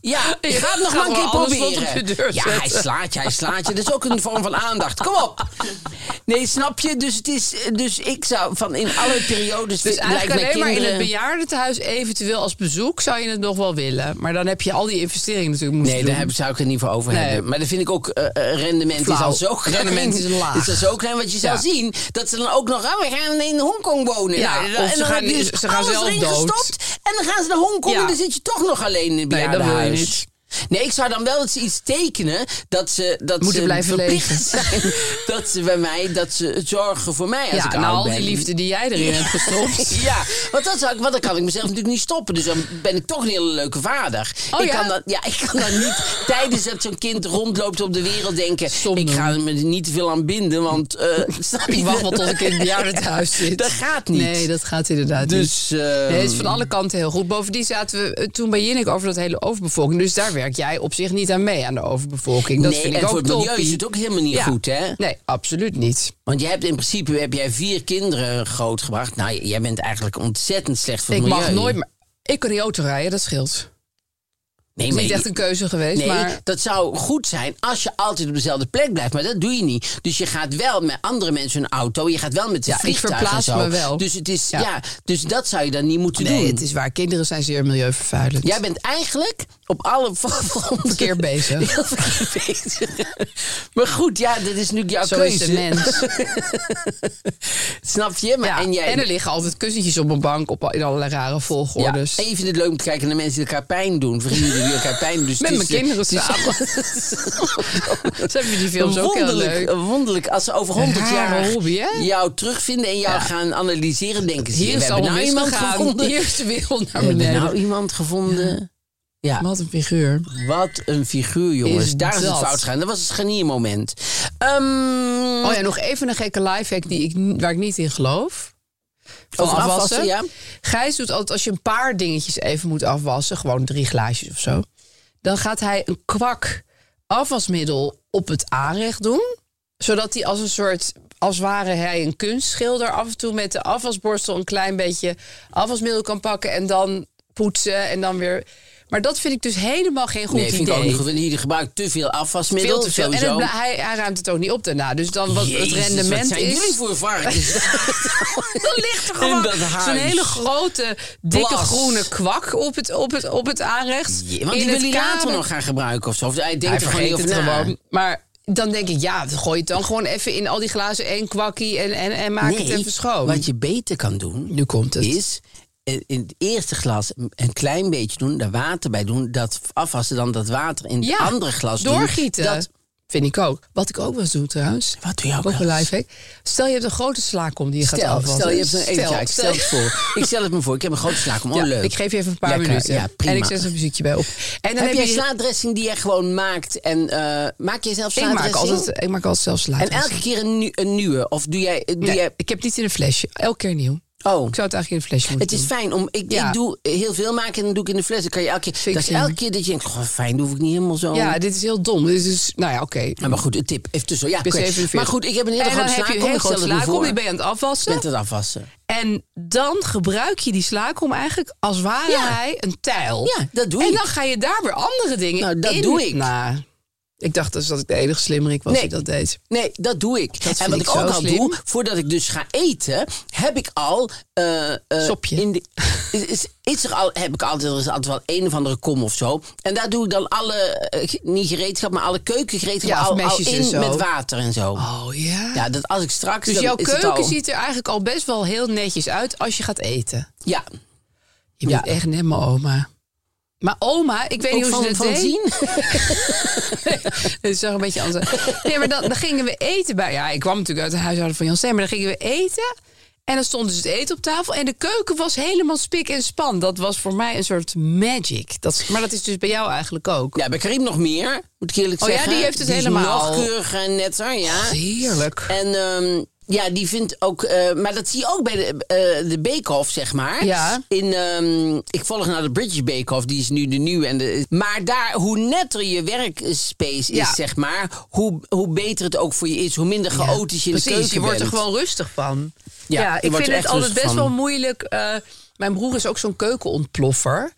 Speaker 4: Ja, ik ga het nog
Speaker 3: Ga
Speaker 4: maar een keer
Speaker 3: gewoon alles wat op
Speaker 4: proberen.
Speaker 3: je deur
Speaker 4: ja, hij
Speaker 3: zetten.
Speaker 4: slaat je, hij slaat je. Dat is ook een vorm van aandacht. Kom op. Nee, snap je? Dus, het is, dus ik zou van in alle periodes...
Speaker 3: Dus
Speaker 4: lijkt
Speaker 3: eigenlijk
Speaker 4: mij
Speaker 3: alleen maar in het
Speaker 4: kinderen-
Speaker 3: bejaardentehuis, eventueel als bezoek, zou je het nog wel willen. Maar dan heb je al die investeringen natuurlijk moeten
Speaker 4: Nee,
Speaker 3: doen.
Speaker 4: daar heb, zou ik het niet voor over
Speaker 3: Nee.
Speaker 4: hebben. Maar dat vind ik ook, eh, eh, rendement is
Speaker 3: Flauw.
Speaker 4: al zo klein.
Speaker 3: Rendement is laag.
Speaker 4: Is al zo klein, want je zal
Speaker 3: Ja.
Speaker 4: zien dat ze dan ook nog, ah, we gaan in Hongkong wonen.
Speaker 3: Ja,
Speaker 4: Nou,
Speaker 3: of
Speaker 4: en
Speaker 3: ze
Speaker 4: dan
Speaker 3: gaan-
Speaker 4: heb je dus
Speaker 3: ze gaan
Speaker 4: alles
Speaker 3: zelf
Speaker 4: erin
Speaker 3: dood.
Speaker 4: gestopt. En dan gaan ze naar Hongkong
Speaker 3: Ja.
Speaker 4: en dan zit je toch nog alleen in het
Speaker 3: Nee, dat wil je
Speaker 4: bejaardenhuis.
Speaker 3: niet.
Speaker 4: Nee, ik zou dan wel eens iets tekenen dat ze, dat
Speaker 3: Moeten
Speaker 4: ze
Speaker 3: blijven
Speaker 4: verplicht zijn. Dat ze bij mij, dat ze zorgen voor mij als
Speaker 3: ja,
Speaker 4: ik
Speaker 3: na
Speaker 4: oud
Speaker 3: al
Speaker 4: ben.
Speaker 3: die liefde die jij erin hebt gestopt.
Speaker 4: Ja, want dat, zou ik, want dan kan ik mezelf natuurlijk niet stoppen. Dus dan ben ik toch een hele leuke vader.
Speaker 3: Oh
Speaker 4: ik,
Speaker 3: ja?
Speaker 4: Kan dat, ja, ik kan dat niet tijdens dat zo'n kind rondloopt op de wereld denken...
Speaker 3: Stom
Speaker 4: ik
Speaker 3: doen.
Speaker 4: ga me er niet te veel aan binden, want... eh, snap je?
Speaker 3: Ik wacht wel tot ik in het bejaardentehuis zit.
Speaker 4: Dat gaat niet.
Speaker 3: Nee, dat gaat inderdaad niet.
Speaker 4: Dus... eh,
Speaker 3: Nee, het is van alle kanten heel goed. Bovendien zaten we eh, toen bij Jinnik over dat hele overbevolking. Dus daar werk jij op zich niet aan mee, aan de overbevolking. Dat
Speaker 4: nee,
Speaker 3: vind
Speaker 4: en
Speaker 3: ik ook
Speaker 4: voor het milieu
Speaker 3: toppie.
Speaker 4: is het ook helemaal niet
Speaker 3: Ja.
Speaker 4: goed, hè?
Speaker 3: Nee, absoluut niet.
Speaker 4: Want je hebt in principe heb jij vier kinderen grootgebracht. Nou, jij bent eigenlijk ontzettend slecht voor
Speaker 3: Ik
Speaker 4: het milieu.
Speaker 3: mag nooit meer... Ik kan die auto rijden, dat scheelt.
Speaker 4: Nee,
Speaker 3: is niet
Speaker 4: maar-
Speaker 3: echt een keuze geweest,
Speaker 4: Nee,
Speaker 3: maar...
Speaker 4: dat zou goed zijn als je altijd op dezelfde plek blijft. Maar dat doe je niet. Dus je gaat wel met andere mensen een auto. Je gaat wel met de
Speaker 3: Ja, ik
Speaker 4: vliegtuig en
Speaker 3: verplaats
Speaker 4: zo.
Speaker 3: me wel.
Speaker 4: Dus, het is, ja.
Speaker 3: Ja.
Speaker 4: dus dat zou je dan niet moeten
Speaker 3: Nee,
Speaker 4: doen.
Speaker 3: het is waar. Kinderen zijn zeer milieuvervuilend.
Speaker 4: Jij bent eigenlijk op alle fronten...
Speaker 3: Verkeerd bezig.
Speaker 4: Heel verkeerd bezig. maar goed, ja, dat is natuurlijk jouw
Speaker 3: Zo
Speaker 4: keuze.
Speaker 3: is de mens.
Speaker 4: Snap je? Maar,
Speaker 3: Ja,
Speaker 4: en, jij,
Speaker 3: er liggen altijd kussentjes op een bank op, in allerlei rare
Speaker 4: Ja,
Speaker 3: volgordes.
Speaker 4: en je vindt het leuk om te kijken naar mensen die elkaar pijn doen. Vrienden die elkaar pijn doen. Dus
Speaker 3: Met
Speaker 4: het
Speaker 3: mijn
Speaker 4: is,
Speaker 3: kinderen
Speaker 4: het is-
Speaker 3: samen. Ze hebben die films
Speaker 4: Een
Speaker 3: ook heel
Speaker 4: wonderlijk,
Speaker 3: leuk.
Speaker 4: een wonderlijk. Als ze over
Speaker 3: Een
Speaker 4: 100
Speaker 3: rare
Speaker 4: jaar
Speaker 3: hobby, hè?
Speaker 4: jou terugvinden en jou
Speaker 3: Ja.
Speaker 4: gaan analyseren, denken ze:
Speaker 3: Hier
Speaker 4: we
Speaker 3: is
Speaker 4: hebben
Speaker 3: allemaal
Speaker 4: nou iemand
Speaker 3: misgegaan.
Speaker 4: gevonden.
Speaker 3: Hier is de wereld naar
Speaker 4: we hebben
Speaker 3: beneden.
Speaker 4: nou iemand gevonden. Ja.
Speaker 3: Wat een figuur.
Speaker 4: Wat een figuur, jongens.
Speaker 3: Is
Speaker 4: Daar is het
Speaker 3: dat.
Speaker 4: fout gegaan. Dat was het scharniermoment. Ehm
Speaker 3: Oh ja, nog even een gekke lifehack die ik, n- waar ik niet in geloof. Van
Speaker 4: Over
Speaker 3: afwassen.
Speaker 4: afwassen, ja.
Speaker 3: Gijs doet altijd, als je een paar dingetjes even moet afwassen... gewoon drie glaasjes of zo... dan gaat hij een kwak afwasmiddel op het aanrecht doen... zodat hij als een soort... als ware hij een kunstschilder... af en toe met de afwasborstel een klein beetje afwasmiddel kan pakken... en dan poetsen en dan weer... Maar dat vind ik dus helemaal geen goed
Speaker 4: Nee,
Speaker 3: idee.
Speaker 4: vind ik ook niet goed. Hier gebruikt te veel afwasmiddel.
Speaker 3: Veel te veel. En
Speaker 4: Sowieso.
Speaker 3: het bla- hij, hij ruimt het ook niet op daarna. Dus dan wat
Speaker 4: Jezus,
Speaker 3: het rendement
Speaker 4: wat zijn
Speaker 3: is...
Speaker 4: jullie voor varkens?
Speaker 3: Dan ligt er
Speaker 4: In
Speaker 3: gewoon
Speaker 4: dat huis.
Speaker 3: zo'n hele grote, dikke
Speaker 4: Plas.
Speaker 3: groene kwak op het, op het, op het aanrecht.
Speaker 4: Ja, Want
Speaker 3: in
Speaker 4: die wil
Speaker 3: het
Speaker 4: hij
Speaker 3: kader.
Speaker 4: later nog gaan gebruiken of zo. Of hij nou.
Speaker 3: Hij
Speaker 4: denkt er gewoon niet
Speaker 3: vergeet
Speaker 4: over
Speaker 3: het
Speaker 4: na.
Speaker 3: gewoon. Maar dan denk ik, ja, dan gooi het dan gewoon even in al die glazen één kwakkie en, en, en maak het
Speaker 4: Nee,
Speaker 3: even schoon.
Speaker 4: Wat je beter kan doen,
Speaker 3: Nu komt het.
Speaker 4: is eh, in het eerste glas een klein beetje doen, daar water bij doen, dat afwassen, dan dat water in
Speaker 3: Ja,
Speaker 4: het andere glas doen.
Speaker 3: doorgieten.
Speaker 4: Dat,
Speaker 3: Vind ik ook. Wat ik ook wel eens doe trouwens.
Speaker 4: Wat doe je ook
Speaker 3: Ook een
Speaker 4: wel eens?
Speaker 3: lifehack. Stel je hebt een grote slaakom die je
Speaker 4: stel,
Speaker 3: gaat afwassen.
Speaker 4: stel je hebt een ja, ik stel het
Speaker 3: stel-
Speaker 4: voor. Ik stel het me voor. Ik heb een grote slaak om. Oh,
Speaker 3: Ja,
Speaker 4: leuk.
Speaker 3: Ik geef je even een paar
Speaker 4: Lekker,
Speaker 3: minuten.
Speaker 4: Ja, prima.
Speaker 3: En ik zet er een muziekje bij op. En dan
Speaker 4: heb, jij
Speaker 3: je
Speaker 4: slaadressing die je gewoon maakt? En eh, maak je zelf
Speaker 3: ik
Speaker 4: slaadressing?
Speaker 3: maak, altijd, ik maak altijd zelf
Speaker 4: En
Speaker 3: slaatjes.
Speaker 4: elke keer een, nieu- een nieuwe? Of doe jij... Doe
Speaker 3: Nee,
Speaker 4: jij
Speaker 3: ik heb niet in een flesje. Elke keer nieuw.
Speaker 4: oh,
Speaker 3: Ik zou het eigenlijk in een flesje moeten
Speaker 4: Het is
Speaker 3: doen.
Speaker 4: fijn om. Ik,
Speaker 3: Ja.
Speaker 4: ik doe heel veel maken en dan doe ik in de fles. Dan kan je elke keer.
Speaker 3: Vind
Speaker 4: Dat
Speaker 3: ik
Speaker 4: is
Speaker 3: slim.
Speaker 4: elke keer dat je denkt, goh, fijn, dan hoef ik niet helemaal zo.
Speaker 3: Ja, dit is heel dom. Dit is, nou ja, oké.
Speaker 4: Ja, maar goed, een tip. Even tussen. Ja,
Speaker 3: Ik ben
Speaker 4: oké.
Speaker 3: 47.
Speaker 4: Maar goed, ik heb een hele
Speaker 3: En dan
Speaker 4: grote
Speaker 3: heb je
Speaker 4: slaak.
Speaker 3: een hele
Speaker 4: Ik stel
Speaker 3: grote
Speaker 4: het me
Speaker 3: slaakom,
Speaker 4: voor.
Speaker 3: die ben je aan het
Speaker 4: Je
Speaker 3: afwassen.
Speaker 4: bent het afwassen.
Speaker 3: En dan gebruik je die slaakom eigenlijk als ware
Speaker 4: Ja.
Speaker 3: hij een tijl.
Speaker 4: Ja, dat doe
Speaker 3: en
Speaker 4: ik.
Speaker 3: dan ga je daar weer andere dingen
Speaker 4: Nou, dat
Speaker 3: in.
Speaker 4: doe ik.
Speaker 3: Nou, ik dacht dus dat ik de enige slimmerik was
Speaker 4: Nee.
Speaker 3: die dat deed.
Speaker 4: Nee, dat doe ik. en
Speaker 3: vind
Speaker 4: wat ik,
Speaker 3: ik
Speaker 4: ook
Speaker 3: zo
Speaker 4: al
Speaker 3: slim.
Speaker 4: doe, voordat ik dus ga eten, heb ik al. eh, eh,
Speaker 3: Sopje.
Speaker 4: In de, is, is, is er al, heb ik altijd, er is altijd wel een of andere kom of zo. En daar doe ik dan alle, eh, niet gereedschap, maar alle keukengereedschap
Speaker 3: Ja, of
Speaker 4: al, al
Speaker 3: mesjes en
Speaker 4: in
Speaker 3: zo.
Speaker 4: met water en zo.
Speaker 3: Oh ja.
Speaker 4: Ja, dat als ik straks.
Speaker 3: dus
Speaker 4: dan
Speaker 3: jouw
Speaker 4: is het
Speaker 3: keuken
Speaker 4: al-
Speaker 3: ziet er eigenlijk al best wel heel netjes uit als je gaat eten.
Speaker 4: Ja,
Speaker 3: Je bent echt net mijn oma. Maar oma, ik weet
Speaker 4: Ook
Speaker 3: niet hoe
Speaker 4: van,
Speaker 3: ze dat
Speaker 4: van
Speaker 3: deed.
Speaker 4: zien?
Speaker 3: Het zag een beetje anders uit. Nee, maar dan, dan gingen we eten bij... Ja, ik kwam natuurlijk uit de huishouden van Jan Steen, maar dan gingen we eten... En dan stond dus het eten op tafel. En de keuken was helemaal spik en span. Dat was voor mij een soort magic. Dat, is- maar dat is dus bij jou eigenlijk ook.
Speaker 4: Ja, bij Karim nog meer, moet ik eerlijk
Speaker 3: Oh ja,
Speaker 4: zeggen.
Speaker 3: die heeft het
Speaker 4: is
Speaker 3: helemaal.
Speaker 4: nog keuriger en netter, ja.
Speaker 3: Heerlijk.
Speaker 4: En ehm, ja, die vindt ook... eh, maar dat zie je ook bij de, eh de Bake Off, zeg maar.
Speaker 3: Ja.
Speaker 4: In, ehm, ik volg naar de British Bake Off, die is nu de nieuwe. En de, maar daar, hoe netter je werkspace is,
Speaker 3: Ja.
Speaker 4: zeg maar... Hoe, hoe beter het ook voor je is, hoe minder chaotisch je in
Speaker 3: Precies,
Speaker 4: de keuken
Speaker 3: je wordt er
Speaker 4: bent.
Speaker 3: gewoon rustig van.
Speaker 4: Ja,
Speaker 3: Ja,
Speaker 4: je
Speaker 3: ik
Speaker 4: wordt
Speaker 3: vind
Speaker 4: er
Speaker 3: het
Speaker 4: echt
Speaker 3: altijd
Speaker 4: rustig
Speaker 3: best
Speaker 4: van.
Speaker 3: wel moeilijk. eh, mijn broer is ook zo'n keukenontploffer.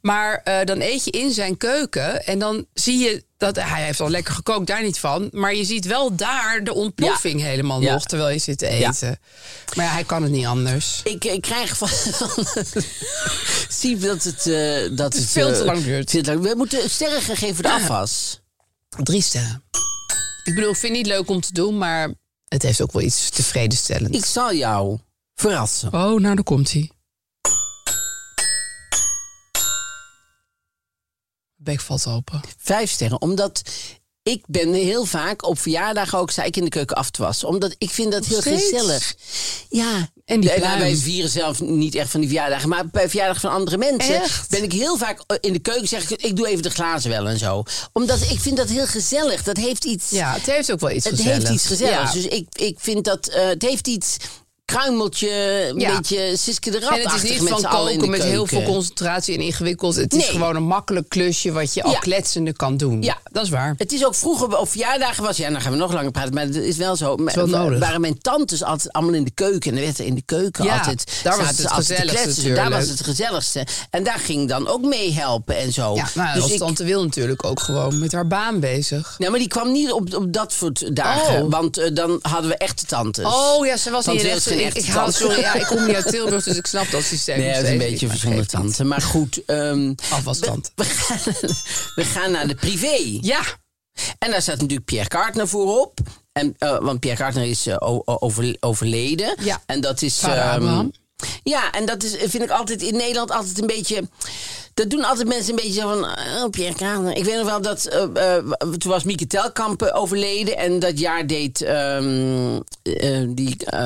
Speaker 3: Maar eh, dan eet je in zijn keuken en dan zie je dat hij heeft al lekker gekookt, daar niet van. Maar je ziet wel daar de ontploffing helemaal
Speaker 4: Ja.
Speaker 3: nog terwijl je zit te eten. Maar ja, hij kan het niet anders.
Speaker 4: Ik, ik krijg van, Zie dat het... eh, dat het,
Speaker 3: veel
Speaker 4: eh,
Speaker 3: te lang duurt.
Speaker 4: veel te lang- We moeten sterren gaan geven voor de afwas.
Speaker 3: Drie sterren. Ik bedoel, ik vind het niet leuk om te doen, maar het heeft ook wel iets tevredenstellends.
Speaker 4: Ik zal jou verrassen.
Speaker 3: Oh, nou, daar komt hij. Bek valt open.
Speaker 4: Vijf sterren, omdat ik ben heel vaak op verjaardagen ook sta ik in de keuken af te wassen. Omdat ik vind dat heel
Speaker 3: steeds?
Speaker 4: gezellig. Ja,
Speaker 3: En die
Speaker 4: Nee, nou,
Speaker 3: pluim.
Speaker 4: wij vieren zelf niet echt van die verjaardagen. Maar bij verjaardag van andere mensen
Speaker 3: Echt?
Speaker 4: ben ik heel vaak eh, in de keuken zeg ik, ik doe even de glazen wel en zo. Omdat ik vind dat heel gezellig. Dat heeft iets.
Speaker 3: Ja, het heeft ook wel iets
Speaker 4: Dus het
Speaker 3: gezelligs.
Speaker 4: heeft iets gezelligs.
Speaker 3: Ja.
Speaker 4: Dus ik, ik vind dat eh, het heeft iets kruimeltje, een
Speaker 3: Ja.
Speaker 4: beetje Siske de
Speaker 3: En het is
Speaker 4: Rap-achtig
Speaker 3: niet
Speaker 4: met
Speaker 3: van
Speaker 4: z'n allen in de
Speaker 3: koken met heel veel
Speaker 4: keuken.
Speaker 3: concentratie en ingewikkeld. Het is
Speaker 4: Nee.
Speaker 3: gewoon een makkelijk klusje wat je al
Speaker 4: Ja.
Speaker 3: kletsende kan doen.
Speaker 4: Ja.
Speaker 3: dat is waar.
Speaker 4: Het is ook vroeger, op verjaardagen was, ja, dan gaan we nog langer praten, maar het is wel zo. Het
Speaker 3: wel nodig.
Speaker 4: Waren mijn tantes altijd allemaal in de keuken en dan werd er in de keuken
Speaker 3: Ja,
Speaker 4: altijd.
Speaker 3: daar
Speaker 4: zaten
Speaker 3: was het
Speaker 4: ze altijd te
Speaker 3: gezelligste
Speaker 4: kletsen.
Speaker 3: natuurlijk.
Speaker 4: Daar was het gezelligste. En daar ging ik dan ook mee helpen en zo.
Speaker 3: Ja, nou,
Speaker 4: dus
Speaker 3: als
Speaker 4: ik,
Speaker 3: tante Wil natuurlijk ook gewoon met haar baan bezig.
Speaker 4: nou, maar die kwam niet op, op dat soort dagen,
Speaker 3: Oh.
Speaker 4: want eh, dan hadden we echte tantes.
Speaker 3: Oh ja, ze
Speaker 4: Dus
Speaker 3: was
Speaker 4: Tante
Speaker 3: niet
Speaker 4: Wil
Speaker 3: echt.
Speaker 4: is geen
Speaker 3: Ik,
Speaker 4: echte
Speaker 3: ik haal,
Speaker 4: tante.
Speaker 3: sorry, ja, ik kom niet uit Tilburg, dus ik snap dat systeem.
Speaker 4: Nee,
Speaker 3: nog
Speaker 4: dat is een
Speaker 3: steeds
Speaker 4: beetje
Speaker 3: niet, maar
Speaker 4: verzonnen
Speaker 3: geeft niet.
Speaker 4: tante. Maar goed, ehm,
Speaker 3: Afwastand.
Speaker 4: we, we gaan, we gaan naar de privé.
Speaker 3: Ja,
Speaker 4: En daar staat natuurlijk Pierre Kartner voor op. En, eh, want Pierre Kartner is eh, o- o- over- overleden.
Speaker 3: Ja.
Speaker 4: En dat is.
Speaker 3: Vader
Speaker 4: ehm,
Speaker 3: Abraham.
Speaker 4: ja, en dat is, eh, vind ik altijd in Nederland altijd een beetje. Dat doen altijd mensen een beetje zo van. Oh, Pierre Kartner. Ik weet nog wel dat. eh, eh, toen was Mieke Telkamp eh, overleden. En dat jaar deed. ehm, eh, die. eh,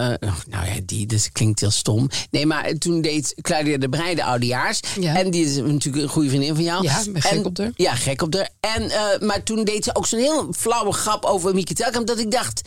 Speaker 4: nou ja, die. Dus klinkt heel stom. Nee, maar toen deed Claudia de Breij de oudejaars.
Speaker 3: Ja.
Speaker 4: En die is natuurlijk een goede vriendin van jou.
Speaker 3: Ja, ben gek
Speaker 4: En-
Speaker 3: op haar.
Speaker 4: ja, gek op haar. En, eh, maar toen deed ze ook zo'n heel flauwe grap over Mieke Telkamp. Dat ik dacht,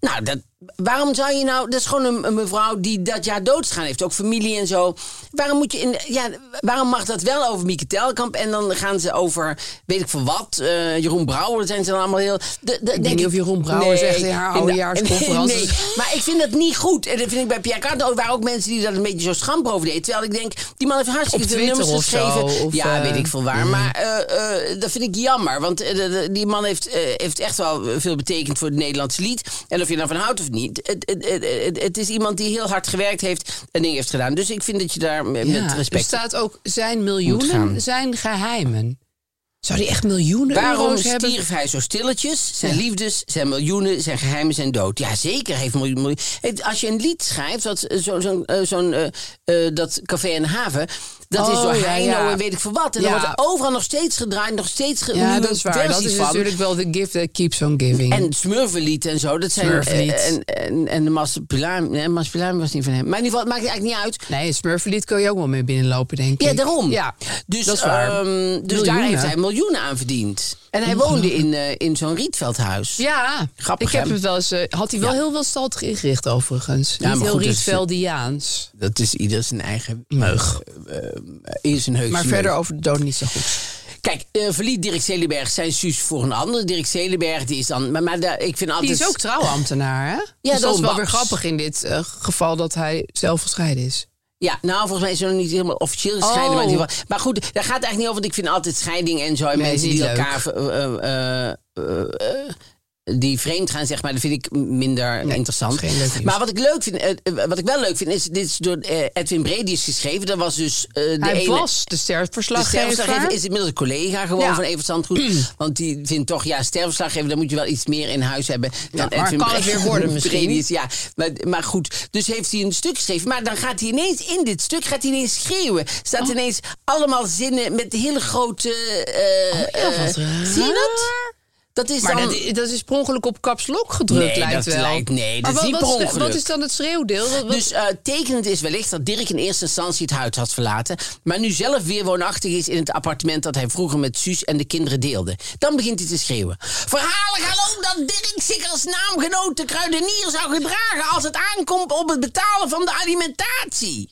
Speaker 4: nou, dat, waarom zou je nou... Dat is gewoon een, een mevrouw die dat jaar doodsgaan heeft. Ook familie en zo. Waarom, moet je in, ja, waarom mag dat wel over Mieke Telkamp? En dan gaan ze over, weet ik veel wat, eh, Jeroen Brouwer. zijn ze dan allemaal heel... De, de, ik
Speaker 3: niet of Jeroen Brouwer zegt in haar oudejaarsconferentie.
Speaker 4: Nee, maar ik vind dat niet goed. En dat vind ik bij Pierre Cardin ook. waren ook mensen die dat een beetje zo schamper over deden. Terwijl ik denk, die man heeft hartstikke
Speaker 3: Op
Speaker 4: veel
Speaker 3: Twitter
Speaker 4: nummers
Speaker 3: of zo,
Speaker 4: geschreven.
Speaker 3: of,
Speaker 4: ja,
Speaker 3: eh,
Speaker 4: weet ik veel waar. Maar eh, eh, dat vind ik jammer. Want eh, de- de- die man heeft, eh, heeft echt wel veel betekend voor het Nederlandse lied. En of je ervan houdt of niet. Het, het, het, het, het is iemand die heel hard gewerkt heeft en dingen heeft gedaan. Dus ik vind dat je daar met,
Speaker 3: ja,
Speaker 4: met
Speaker 3: er
Speaker 4: respect...
Speaker 3: staat ook zijn
Speaker 4: Moet gaan.
Speaker 3: miljoenen zijn geheimen. Zou die echt miljoenen
Speaker 4: Waarom
Speaker 3: euro's hebben?
Speaker 4: stierf hij zo stilletjes? Zijn
Speaker 3: Ja.
Speaker 4: liefdes, zijn miljoenen, zijn geheimen zijn dood. Ja, zeker heeft miljoen. miljoen- Het- Als je een lied schrijft, dat, eh, zo, zo'n, eh, zo'n, eh, eh, dat Café en Haven, dat is
Speaker 3: Oh,
Speaker 4: door
Speaker 3: ja,
Speaker 4: Heino
Speaker 3: ja.
Speaker 4: en weet ik veel wat. En dan
Speaker 3: Ja.
Speaker 4: wordt er overal nog steeds gedraaid, nog steeds ge-
Speaker 3: Ja,
Speaker 4: nieuwe
Speaker 3: dat is waar.
Speaker 4: versies
Speaker 3: Dat is
Speaker 4: van.
Speaker 3: natuurlijk wel de gift that keeps on giving.
Speaker 4: En Smurvenlied en zo, dat zijn...
Speaker 3: Hm. Smurfenlied.
Speaker 4: eh, En, en, en de Maspulaam, nee, Maspulaam was niet van hem. Maar in ieder geval, het maakt eigenlijk niet uit.
Speaker 3: nee, een smurfenlied kun je ook wel mee binnenlopen, denk
Speaker 4: Ja,
Speaker 3: ik.
Speaker 4: daarom.
Speaker 3: Ja,
Speaker 4: Dus,
Speaker 3: dat is waar.
Speaker 4: ehm, dus daar
Speaker 3: Miljoenen.
Speaker 4: heeft hij miljoenen aan verdiend. En hij woonde in, eh, in zo'n rietveldhuis.
Speaker 3: Ja,
Speaker 4: Grappig,
Speaker 3: ik heb
Speaker 4: hè?
Speaker 3: het wel eens. eh, had hij wel
Speaker 4: Ja.
Speaker 3: heel wel staltig ingericht, overigens.
Speaker 4: Ja,
Speaker 3: Niet
Speaker 4: maar
Speaker 3: heel
Speaker 4: goed, dus- eh,
Speaker 3: Rietveldiaans.
Speaker 4: Dat is ieder zijn eigen meug. in zijn heus.
Speaker 3: Maar verder over de dood niet zo goed.
Speaker 4: Kijk, eh, verliet Dirk Zelenberg zijn suus voor een ander. Dirk Zelenberg die is dan... Maar, maar daar- ik vind altijd...
Speaker 3: Die is ook trouwambtenaar, hè?
Speaker 4: Ja,
Speaker 3: Dus
Speaker 4: dat
Speaker 3: dat
Speaker 4: is
Speaker 3: is wel
Speaker 4: Babs.
Speaker 3: weer grappig in dit eh, geval dat hij zelf gescheiden is.
Speaker 4: Ja, nou, volgens mij is het nog niet helemaal officieel gescheiden. Maar, in ieder geval- maar goed, daar gaat het eigenlijk niet over. Want ik vind altijd scheiding en zo. En
Speaker 3: Nee,
Speaker 4: mensen
Speaker 3: is
Speaker 4: die
Speaker 3: niet
Speaker 4: elkaar... eh, eh, eh, eh, die vreemd gaan, zeg maar, dat vind ik minder interessant.
Speaker 3: is geen leuk nieuws.
Speaker 4: maar wat ik leuk vind, eh, eh, wat ik wel leuk vind, is dit is door eh, Edwin Brady is geschreven. Dat was dus eh, de
Speaker 3: hij
Speaker 4: ene,
Speaker 3: was de
Speaker 4: De sterfverslaggever
Speaker 3: sterfverslaggever.
Speaker 4: Dus is inmiddels een collega gewoon
Speaker 3: Ja. Mm.
Speaker 4: van Evert Zandgoed. want die vindt toch, ja, sterfverslaggever, dan moet je wel iets meer in huis hebben. Dan
Speaker 3: maar kan
Speaker 4: Bre-
Speaker 3: het weer worden misschien?
Speaker 4: Bredius, ja, maar, maar goed. Dus heeft hij een stuk geschreven. Maar dan gaat hij ineens in dit stuk, gaat hij ineens schreeuwen. Staat
Speaker 3: Oh.
Speaker 4: ineens allemaal zinnen met hele grote... eh, eh, zie je dat? Dat is
Speaker 3: Oh, Maar
Speaker 4: dan...
Speaker 3: dat, i- dat is per ongeluk op kapslok gedrukt,
Speaker 4: Nee, dat
Speaker 3: lijkt wel.
Speaker 4: lijkt- nee, dat
Speaker 3: Maar
Speaker 4: is
Speaker 3: wat,
Speaker 4: niet
Speaker 3: wat
Speaker 4: per
Speaker 3: de-
Speaker 4: ongeluk.
Speaker 3: Wat is dan het schreeuwdeel? Wat- wat-
Speaker 4: Dus eh, tekenend is wellicht dat Dirk in eerste instantie het huis had verlaten. Maar nu zelf weer woonachtig is in het appartement dat hij vroeger met Suus en de kinderen deelde. Dan begint hij te schreeuwen. Verhalen gaan ook dat Dirk zich als naamgenoot de kruidenier zou gedragen als het aankomt op het betalen van de alimentatie.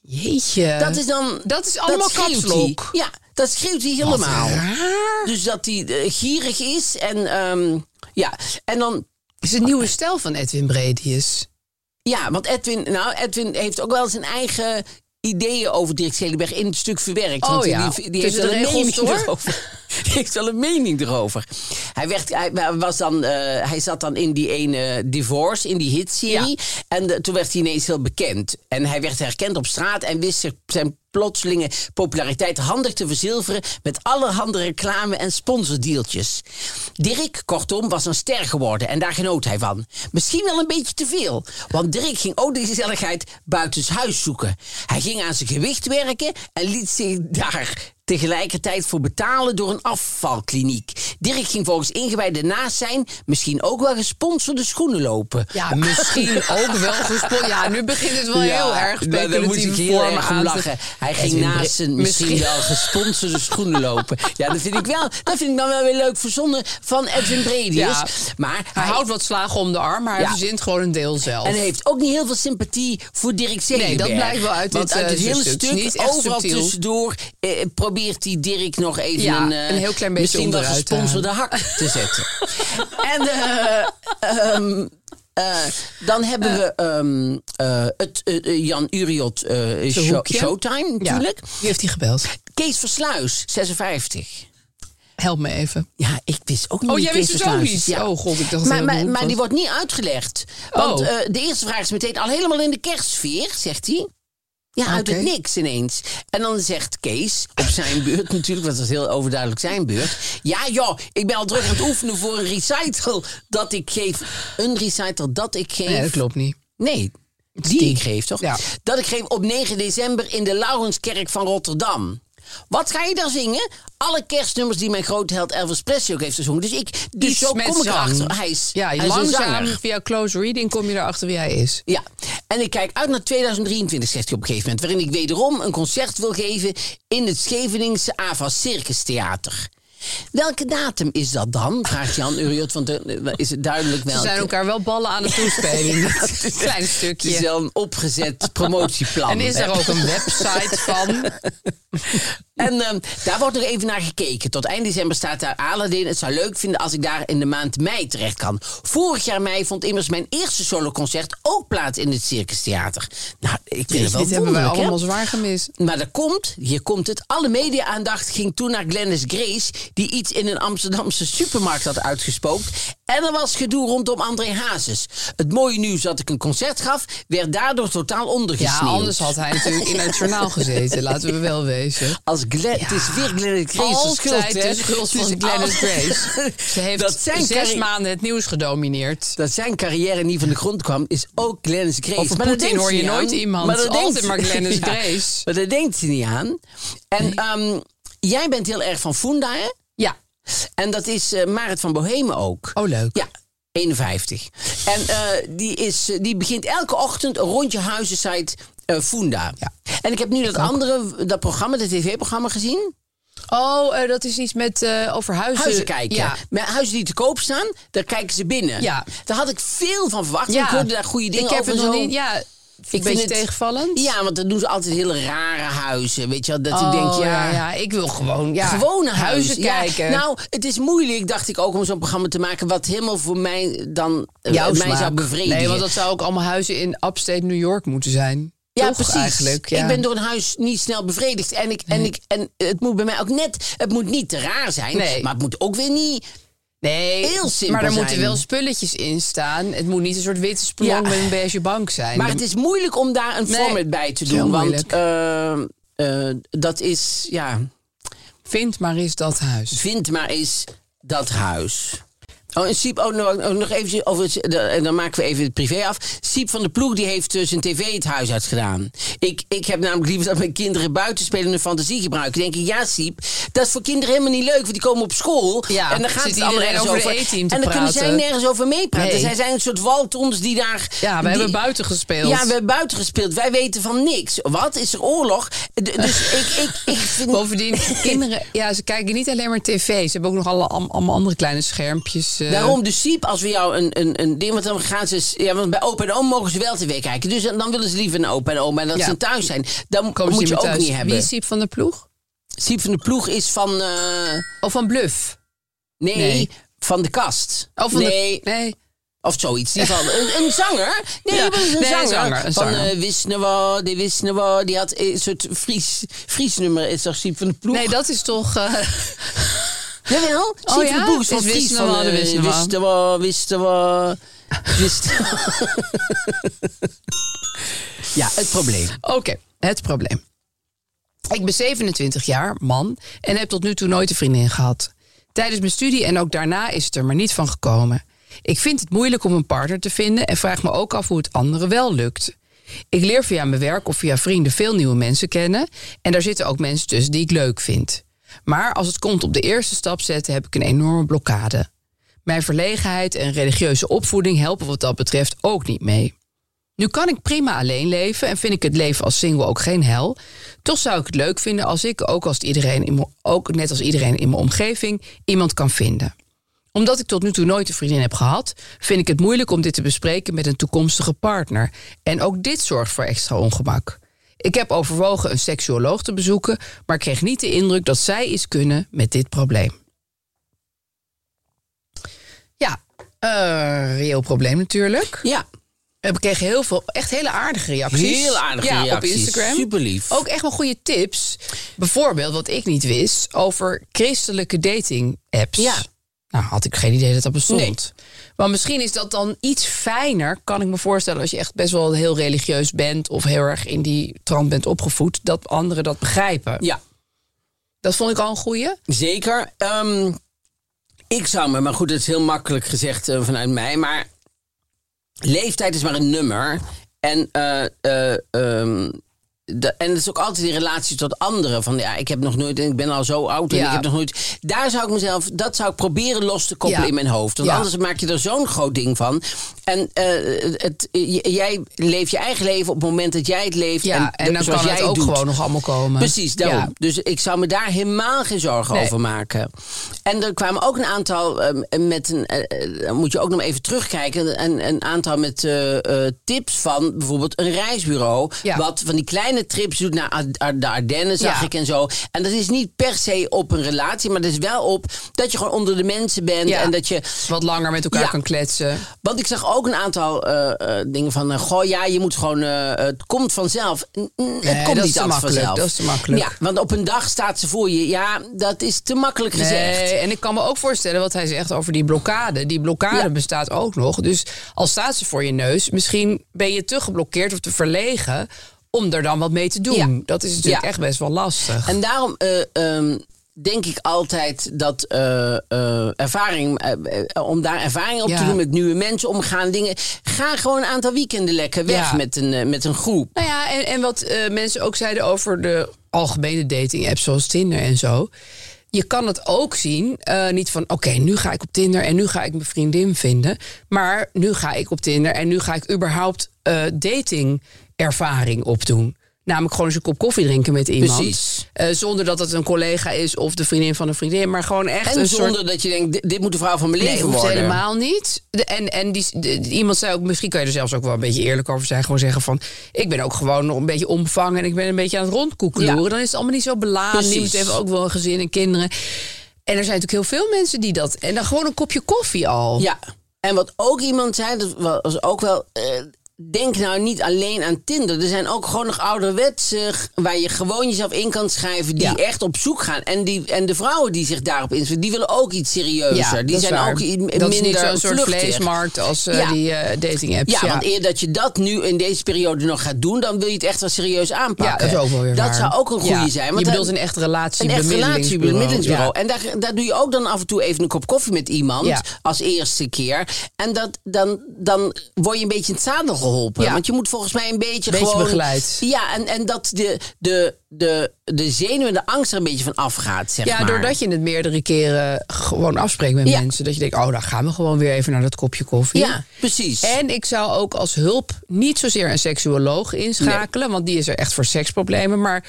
Speaker 3: Jeetje.
Speaker 4: Dat is dan...
Speaker 3: Eh, Dat is allemaal
Speaker 4: schreeuwt
Speaker 3: kapslok.
Speaker 4: hij. Ja, dat schreeuwt hij helemaal.
Speaker 3: raar.
Speaker 4: Dus dat hij eh, gierig is en... ehm, ja, en dan...
Speaker 3: is het nieuwe stijl van Edwin Bredius.
Speaker 4: Ja, want Edwin, nou, Edwin heeft ook wel zijn eigen ideeën over Dirk Zelenberg in het stuk verwerkt.
Speaker 3: Oh
Speaker 4: want
Speaker 3: ja,
Speaker 4: die, die heeft
Speaker 3: tussen
Speaker 4: wel
Speaker 3: de
Speaker 4: een
Speaker 3: regels
Speaker 4: mening
Speaker 3: door.
Speaker 4: erover. Die heeft wel een mening erover. Hij, werd, hij, was dan, eh, hij zat dan in die ene divorce, in die hitserie. En de- toen werd hij ineens heel bekend. En hij werd herkend op straat en wist zich zijn plotselinge populariteit handig te verzilveren... met allerhande reclame en sponsordeeltjes. Dirk, kortom, was een ster geworden en daar genoot hij van. Misschien wel een beetje te veel, want Dirk ging ook de gezelligheid buitenshuis zoeken. Hij ging aan zijn gewicht werken en liet zich daar tegelijkertijd voor betalen door een afvalkliniek. Dirk ging volgens ingewijden naast zijn misschien ook wel gesponsorde schoenen lopen.
Speaker 3: Ja, misschien ook wel gesponsord. Ja, nu begint het wel heel erg
Speaker 4: maar daar moet ik
Speaker 3: speculatieve
Speaker 4: heel
Speaker 3: vormen
Speaker 4: erg om
Speaker 3: aan te-
Speaker 4: lachen. Hij
Speaker 3: Edwin
Speaker 4: ging naast
Speaker 3: Bri-
Speaker 4: zijn misschien, wel gesponsorde schoenen lopen. Ja, dat vind ik wel. Dat vind ik dan wel weer leuk verzonnen van Edwin Bredius.
Speaker 3: Ja.
Speaker 4: Maar
Speaker 3: Hij houdt wat slagen om de arm, maar hij
Speaker 4: Ja.
Speaker 3: verzint gewoon een deel zelf.
Speaker 4: En hij heeft ook niet heel veel sympathie voor Dirk Zelenberg.
Speaker 3: dat blijkt wel uit
Speaker 4: Want
Speaker 3: dit,
Speaker 4: uit
Speaker 3: eh,
Speaker 4: het hele
Speaker 3: stuk. Het is
Speaker 4: stuk,
Speaker 3: niet echt
Speaker 4: overal
Speaker 3: subtiel.
Speaker 4: tussendoor, eh, probeert hij Dirk nog even
Speaker 3: Ja,
Speaker 4: een, eh,
Speaker 3: een heel klein beetje
Speaker 4: misschien wel
Speaker 3: onderuit eh, te
Speaker 4: gesponsorde hak te zetten. en eh, ehm, eh, dan hebben we ehm, eh, het eh, eh, Jan Uriot eh,
Speaker 3: Zijn
Speaker 4: show-
Speaker 3: hoekje.
Speaker 4: Showtime
Speaker 3: Ja.
Speaker 4: natuurlijk.
Speaker 3: Wie heeft hij gebeld?
Speaker 4: Kees Versluis, 56.
Speaker 3: Help me even.
Speaker 4: Ja, ik wist ook niet.
Speaker 3: Oh,
Speaker 4: wie
Speaker 3: jij
Speaker 4: Kees
Speaker 3: wist het
Speaker 4: Versluis
Speaker 3: ook
Speaker 4: is.
Speaker 3: niet?
Speaker 4: Ja.
Speaker 3: Oh, god, ik dacht dat
Speaker 4: maar,
Speaker 3: het
Speaker 4: maar,
Speaker 3: een beroep
Speaker 4: maar die
Speaker 3: was.
Speaker 4: wordt niet uitgelegd. Want
Speaker 3: Oh.
Speaker 4: eh, de eerste vraag is meteen al helemaal in de kerstsfeer, zegt hij. Ja, uit het
Speaker 3: Oké.
Speaker 4: niks ineens. En dan zegt Kees, op zijn beurt natuurlijk, want dat is heel overduidelijk zijn beurt. Ja, joh, ik ben al druk aan het oefenen voor een recital dat ik geef. Een recital dat ik geef.
Speaker 3: Nee, dat klopt niet.
Speaker 4: Nee, die, ik geef, toch?
Speaker 3: Ja.
Speaker 4: Dat ik geef op 9 december in de Laurenskerk van Rotterdam. Wat ga je daar zingen? Alle kerstnummers die mijn grote held Elvis Presley ook heeft gezongen. Dus, ik, dus
Speaker 3: Iets
Speaker 4: zo
Speaker 3: met
Speaker 4: kom ik
Speaker 3: zang.
Speaker 4: erachter. Hij is,
Speaker 3: ja,
Speaker 4: hij is een
Speaker 3: langzaam
Speaker 4: zanger.
Speaker 3: via close reading kom je erachter wie hij is.
Speaker 4: Ja, en ik kijk uit naar 2023, zegt hij op een gegeven moment. Waarin ik wederom een concert wil geven in het Scheveningse Ava Circus Theater. Welke datum is dat dan? Vraagt Jan Uriot, want eh, is het duidelijk wel.
Speaker 3: Ze zijn elkaar wel ballen aan het toespelen. in dit klein
Speaker 4: Het is
Speaker 3: stukje.
Speaker 4: wel een opgezet promotieplan.
Speaker 3: En is
Speaker 4: hè.
Speaker 3: er ook een website van?
Speaker 4: En ehm, daar wordt nog even naar gekeken. Tot eind december staat daar Aladdin. Het zou leuk vinden als ik daar in de maand mei terecht kan. Vorig jaar mei vond immers mijn eerste soloconcert ook plaats in het Circus Theater. Nou, ik vind het wel
Speaker 3: dit hebben wij
Speaker 4: wonderlijk, hè?
Speaker 3: allemaal zwaar gemist.
Speaker 4: Maar dat komt, hier komt het. Alle media-aandacht ging toen naar Glennis Grace... die iets in een Amsterdamse supermarkt had uitgespookt. En er was gedoe rondom André Hazes. Het mooie nieuws dat ik een concert gaf... werd daardoor totaal
Speaker 3: Ja,
Speaker 4: ondergesneeuwd.
Speaker 3: anders had hij natuurlijk in het journaal gezeten. Laten we wel wezen.
Speaker 4: Als Glen, Het is weer Glennis Grace de schuld,
Speaker 3: Altijd
Speaker 4: hè?
Speaker 3: de schuld
Speaker 4: Het is
Speaker 3: van Glennis
Speaker 4: al-
Speaker 3: Grace. Ze heeft
Speaker 4: dat zijn
Speaker 3: zes
Speaker 4: carri-
Speaker 3: maanden het nieuws gedomineerd.
Speaker 4: Dat zijn carrière niet van de grond kwam, is ook Glennis Grace.
Speaker 3: Over
Speaker 4: dat
Speaker 3: Poetin
Speaker 4: denkt
Speaker 3: hoor
Speaker 4: ze
Speaker 3: je
Speaker 4: niet
Speaker 3: nooit
Speaker 4: aan.
Speaker 3: iemand.
Speaker 4: dat
Speaker 3: Altijd
Speaker 4: denkt ze-
Speaker 3: maar Glennis Grace.
Speaker 4: Maar daar denkt ze niet aan. En ehm, jij bent heel erg van Funda, hè?
Speaker 3: Ja.
Speaker 4: En dat is eh, Marit van Bohemen ook.
Speaker 3: Oh, leuk.
Speaker 4: Ja, 51. En eh, die, is, eh, die begint elke ochtend een rondje huizensite eh Funda.
Speaker 3: Ja.
Speaker 4: En ik heb nu dat andere, dat programma, dat tv-programma gezien.
Speaker 3: Oh, eh, dat is iets met eh over huizen.
Speaker 4: Huizen kijken.
Speaker 3: Ja.
Speaker 4: Met huizen die te koop staan, daar kijken ze binnen.
Speaker 3: Ja.
Speaker 4: Daar had ik veel van verwacht. Ik hoorde daar goede dingen
Speaker 3: ik heb
Speaker 4: over.
Speaker 3: het
Speaker 4: en
Speaker 3: nog
Speaker 4: zo.
Speaker 3: niet. Ja, een
Speaker 4: vind
Speaker 3: beetje
Speaker 4: het-
Speaker 3: tegenvallend.
Speaker 4: Ja, want dan doen ze altijd hele rare huizen. Weet je wel, dat
Speaker 3: Oh,
Speaker 4: ik denk, ja,
Speaker 3: ja, ja, ik wil gewoon ja,
Speaker 4: gewone huizen.
Speaker 3: huizen
Speaker 4: Ja,
Speaker 3: kijken.
Speaker 4: nou, het is moeilijk, dacht ik ook, om zo'n programma te maken... wat helemaal voor mij dan eh, mij
Speaker 3: smaak.
Speaker 4: zou bevredigen.
Speaker 3: Nee, want dat zou ook allemaal huizen in upstate New York moeten zijn.
Speaker 4: ja,
Speaker 3: Toch
Speaker 4: precies.
Speaker 3: Eigenlijk, ja.
Speaker 4: Ik ben door een huis niet snel bevredigd. En, ik, en, ik, en het moet bij mij ook net... Het moet niet te raar zijn,
Speaker 3: Nee.
Speaker 4: maar het moet ook weer niet...
Speaker 3: nee,
Speaker 4: heel simpel
Speaker 3: Maar er
Speaker 4: zijn.
Speaker 3: moeten wel spulletjes in staan. Het moet niet een soort witte spelonk
Speaker 4: Ja.
Speaker 3: met een beige bank zijn.
Speaker 4: Maar het is moeilijk om daar een
Speaker 3: Nee,
Speaker 4: format bij te
Speaker 3: het is
Speaker 4: doen.
Speaker 3: heel
Speaker 4: Want eh, eh, dat is, ja...
Speaker 3: Vind maar eens dat huis.
Speaker 4: Vind maar eens dat huis. Oh, en Siep, oh, nog, oh, nog even over, het- de- en dan maken we even het privé af. Siep van de Ploeg die heeft dus zijn tv het huis uit gedaan. Ik, ik heb namelijk liever dat mijn kinderen buiten spelen en hun fantasie gebruiken. Dan denk ik, ja Siep, dat is voor kinderen helemaal niet leuk, want die komen op school.
Speaker 3: Ja,
Speaker 4: en dan gaat
Speaker 3: zit
Speaker 4: het allemaal
Speaker 3: iedereen
Speaker 4: ergens
Speaker 3: over
Speaker 4: over.
Speaker 3: de E-team te
Speaker 4: en dan kunnen zij
Speaker 3: praten.
Speaker 4: nergens over meepraten.
Speaker 3: Nee.
Speaker 4: Zij zijn een soort waltons die daar...
Speaker 3: Ja, we
Speaker 4: die-
Speaker 3: hebben buiten gespeeld.
Speaker 4: Ja, we hebben buiten gespeeld. Wij weten van niks. Wat? Is er oorlog? D- dus ik, ik, ik vind...
Speaker 3: Bovendien, kinderen, ja, ze kijken niet alleen maar tv. Ze hebben ook nog alle, am- allemaal andere kleine schermpjes. eh.
Speaker 4: Daarom, dus Siep, als we jou een, een, een ding... Want dan gaan ze... s- Ja, want bij opa en oom mogen ze wel tv kijken. Dus dan willen ze liever een opa en oom. En dat
Speaker 3: Ja.
Speaker 4: ze thuis zijn. Dan
Speaker 3: Komen ze
Speaker 4: moet je
Speaker 3: meer
Speaker 4: ook
Speaker 3: thuis.
Speaker 4: niet hebben.
Speaker 3: Wie is Siep van de ploeg?
Speaker 4: Siep van de Ploeg is van... eh,
Speaker 3: Of van Bluff?
Speaker 4: nee,
Speaker 3: Nee.
Speaker 4: van de kast.
Speaker 3: Oh, van de-
Speaker 4: nee,
Speaker 3: nee.
Speaker 4: of zoiets. Die van, een, een zanger? Nee,
Speaker 3: Ja.
Speaker 4: dat was een
Speaker 3: Nee,
Speaker 4: zanger.
Speaker 3: een zanger, een
Speaker 4: van
Speaker 3: zanger.
Speaker 4: eh Wisnewa, die Wisnewa. Die had een soort Fries, Fries nummer. Is toch Siep van de Ploeg?
Speaker 3: Nee, dat is toch... eh,
Speaker 4: Jawel, Siep van
Speaker 3: ja?
Speaker 4: de Ploeg is van
Speaker 3: Is
Speaker 4: Fries.
Speaker 3: Wisnewa
Speaker 4: Van,
Speaker 3: de
Speaker 4: eh,
Speaker 3: Wisnewa.
Speaker 4: Wisnewa, Wisnewa, Wisnewa. Ja, het probleem.
Speaker 3: Oké, het probleem. Ik ben 27 jaar, man, en heb tot nu toe nooit een vriendin gehad. Tijdens mijn studie en ook daarna is het er maar niet van gekomen. Ik vind het moeilijk om een partner te vinden en vraag me ook af hoe het anderen wel lukt. Ik leer via mijn werk of via vrienden veel nieuwe mensen kennen. En daar zitten ook mensen tussen die ik leuk vind. Maar als het komt op de eerste stap zetten, heb ik een enorme blokkade. Mijn verlegenheid en religieuze opvoeding helpen wat dat betreft ook niet mee. Nu kan ik prima alleen leven en vind ik het leven als single ook geen hel. Toch zou ik het leuk vinden als ik, ook, als iedereen in me- ook net als iedereen in mijn omgeving, iemand kan vinden. Omdat ik tot nu toe nooit een vriendin heb gehad, vind ik het moeilijk om dit te bespreken met een toekomstige partner. En ook dit zorgt voor extra ongemak. Ik heb overwogen een seksuoloog te bezoeken, maar kreeg niet de indruk dat zij iets kunnen met dit probleem. Ja, eh reëel probleem natuurlijk.
Speaker 4: Ja,
Speaker 3: We kregen heel veel, echt hele aardige reacties.
Speaker 4: heel aardige
Speaker 3: ja,
Speaker 4: reacties.
Speaker 3: op Instagram.
Speaker 4: Super lief.
Speaker 3: Ook echt wel goede tips. Bijvoorbeeld, wat ik niet wist, over christelijke dating apps.
Speaker 4: Ja.
Speaker 3: Nou, had ik geen idee dat dat bestond. Maar misschien is dat dan iets fijner, kan ik me voorstellen... als je echt best wel heel religieus bent... of heel erg in die trant bent opgevoed... dat anderen dat begrijpen.
Speaker 4: ja.
Speaker 3: Dat vond ik al een goeie.
Speaker 4: Zeker. Ehm, ik zou me, maar goed, dat is heel makkelijk gezegd eh, vanuit mij, maar leeftijd is maar een nummer. En, eh, eh, ehm, de- en het is ook altijd in relatie tot anderen. Van ja, ik heb nog nooit, en ik ben al zo oud en
Speaker 3: Ja.
Speaker 4: ik heb nog nooit. Daar zou ik mezelf, dat zou ik proberen los te koppelen
Speaker 3: Ja.
Speaker 4: in mijn hoofd. Want
Speaker 3: Ja.
Speaker 4: anders maak je er zo'n groot ding van. En eh, het, j- jij leeft je eigen leven op het moment dat jij het leeft.
Speaker 3: Ja, en,
Speaker 4: de-
Speaker 3: dan
Speaker 4: zoals
Speaker 3: kan
Speaker 4: jij
Speaker 3: het ook
Speaker 4: doet.
Speaker 3: gewoon nog allemaal komen.
Speaker 4: Precies, daarom.
Speaker 3: Ja.
Speaker 4: Dus ik zou me daar helemaal geen zorgen
Speaker 3: Nee.
Speaker 4: over maken. En er kwamen ook een aantal ehm, met een. eh, eh, dan moet je ook nog even terugkijken. Een, een aantal met eh, eh, tips van bijvoorbeeld een reisbureau.
Speaker 3: Ja.
Speaker 4: Wat van die kleine trips doet naar Ar- Ar- de Ardennen, zag
Speaker 3: Ja.
Speaker 4: ik en zo. En dat is niet per se op een relatie, maar dat is wel op dat je gewoon onder de mensen bent.
Speaker 3: Ja.
Speaker 4: En dat je
Speaker 3: Wat langer met elkaar
Speaker 4: Ja.
Speaker 3: kan kletsen.
Speaker 4: want ik zag ook een aantal eh, eh, dingen van... eh, goh, ja, je moet gewoon... eh, het komt vanzelf. N- n-
Speaker 3: Nee,
Speaker 4: het komt
Speaker 3: dat is
Speaker 4: niet
Speaker 3: te
Speaker 4: altijd
Speaker 3: makkelijk,
Speaker 4: vanzelf.
Speaker 3: dat is te makkelijk.
Speaker 4: Ja, want op een dag staat ze voor je. Ja, dat is te makkelijk gezegd.
Speaker 3: Nee, en ik kan me ook voorstellen wat hij zegt over die blokkade. Die blokkade
Speaker 4: Ja.
Speaker 3: bestaat ook nog. Dus al staat ze voor je neus, misschien ben je te geblokkeerd of te verlegen om er dan wat mee te doen.
Speaker 4: Ja.
Speaker 3: Dat is natuurlijk
Speaker 4: Ja.
Speaker 3: echt best wel lastig.
Speaker 4: En daarom eh, ehm, denk ik altijd dat eh, eh, ervaring, eh, eh, om daar ervaring op
Speaker 3: Ja.
Speaker 4: te doen met nieuwe mensen omgaan, dingen. Ga gewoon een aantal weekenden lekker weg
Speaker 3: Ja.
Speaker 4: met, een, eh, met een groep.
Speaker 3: Nou ja, en, en wat eh, mensen ook zeiden over de algemene dating apps zoals Tinder en zo. Je kan het ook zien, eh, niet van oké, nu ga ik op Tinder en nu ga ik mijn vriendin vinden. Maar nu ga ik op Tinder en nu ga ik überhaupt eh datingervaring opdoen. Namelijk gewoon eens een kop koffie drinken met iemand.
Speaker 4: Precies.
Speaker 3: Eh, zonder dat het een collega is of de vriendin van een vriendin. Maar gewoon echt
Speaker 4: En
Speaker 3: een
Speaker 4: zonder
Speaker 3: soort
Speaker 4: dat je denkt, dit- dit moet de vrouw van mijn
Speaker 3: Nee,
Speaker 4: leven
Speaker 3: hoeft
Speaker 4: worden.
Speaker 3: helemaal niet. De- en en die, de- de- iemand zei ook, misschien kan je er zelfs ook wel een beetje eerlijk over zijn. Gewoon zeggen van, ik ben ook gewoon nog een beetje omvangen... en ik ben een beetje aan het rondkoekeloeren.
Speaker 4: Ja.
Speaker 3: Dan is het allemaal niet zo beladen.
Speaker 4: Precies.
Speaker 3: Niemand heeft ook wel een gezin en kinderen. En er zijn natuurlijk heel veel mensen die dat... en dan gewoon een kopje koffie al.
Speaker 4: Ja, en wat ook iemand zei, dat was ook wel. eh, denk nou niet alleen aan Tinder. Er zijn ook gewoon nog ouderwetse g- waar je gewoon jezelf in kan schrijven. die
Speaker 3: Ja.
Speaker 4: echt op zoek gaan. En, die, en de vrouwen die zich daarop inschrijven, die willen ook iets serieuzer. die
Speaker 3: dat is
Speaker 4: zijn
Speaker 3: waar.
Speaker 4: ook i-
Speaker 3: dat
Speaker 4: minder
Speaker 3: is niet zo'n soort
Speaker 4: vluchtig.
Speaker 3: vleesmarkt als eh,
Speaker 4: Ja.
Speaker 3: die eh, dating apps.
Speaker 4: Ja, want eer dat je dat nu in deze periode nog gaat doen, dan wil je het echt wel serieus aanpakken.
Speaker 3: Ja, dat is ook wel weer
Speaker 4: Dat
Speaker 3: waar.
Speaker 4: zou ook een goede
Speaker 3: Ja.
Speaker 4: zijn. Want
Speaker 3: je bedoelt
Speaker 4: dan-
Speaker 3: een echt relatie,
Speaker 4: een echt relatiebemiddelingsbureau. En daar, daar doe je ook dan af en toe even een kop koffie met iemand.
Speaker 3: Ja.
Speaker 4: Als eerste keer. En dat, dan, dan word je een beetje in het zadel geholpen.
Speaker 3: Ja.
Speaker 4: Want je moet volgens mij een beetje,
Speaker 3: Beetje
Speaker 4: gewoon...
Speaker 3: begeleid.
Speaker 4: Ja, en, en dat de, de, de, de zenuw en de angst er een beetje van afgaat, zeg
Speaker 3: Ja,
Speaker 4: maar.
Speaker 3: doordat je het meerdere keren gewoon afspreekt met
Speaker 4: Ja.
Speaker 3: mensen. Dat je denkt, oh, dan gaan we gewoon weer even naar dat kopje koffie.
Speaker 4: Ja, precies.
Speaker 3: En ik zou ook als hulp niet zozeer een seksuoloog inschakelen. Want die is er echt voor seksproblemen. Maar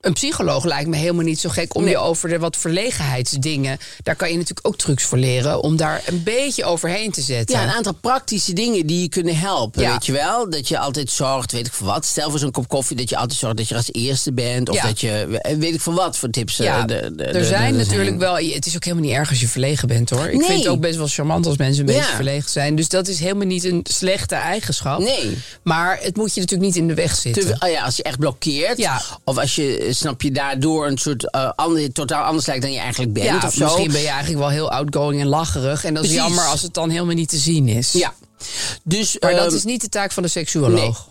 Speaker 3: een psycholoog lijkt me helemaal niet zo gek om je over de wat verlegenheidsdingen. Daar kan je natuurlijk ook trucs voor leren om daar een beetje overheen te zetten.
Speaker 4: Ja, een aantal praktische dingen die je kunnen helpen,
Speaker 3: Ja.
Speaker 4: weet je wel? Dat je altijd zorgt, weet ik voor wat. Stel voor zo'n kop koffie dat je altijd zorgt dat je als eerste bent. Of
Speaker 3: Ja.
Speaker 4: dat je, eh, weet ik voor wat, voor tips. eh,
Speaker 3: Ja,
Speaker 4: de- de- de-
Speaker 3: er zijn
Speaker 4: de- de-
Speaker 3: natuurlijk wel. Het is ook helemaal niet erg als je verlegen bent hoor. Ik
Speaker 4: Nee.
Speaker 3: vind het ook best wel charmant als mensen een
Speaker 4: Ja.
Speaker 3: beetje verlegen zijn. Dus dat is helemaal niet een slechte eigenschap.
Speaker 4: Nee.
Speaker 3: Maar het moet je natuurlijk niet in de weg zitten.
Speaker 4: Te- oh ja, als je echt blokkeert.
Speaker 3: Ja.
Speaker 4: Of als je, eh, snap je, daardoor een soort eh, ander, totaal anders lijkt dan je eigenlijk bent.
Speaker 3: ja,
Speaker 4: of zo.
Speaker 3: misschien ben je eigenlijk wel heel outgoing en lacherig. En dat is
Speaker 4: Precies.
Speaker 3: jammer als het dan helemaal niet te zien is.
Speaker 4: Ja. Dus,
Speaker 3: Maar dat
Speaker 4: ehm,
Speaker 3: is niet de taak van de seksuoloog.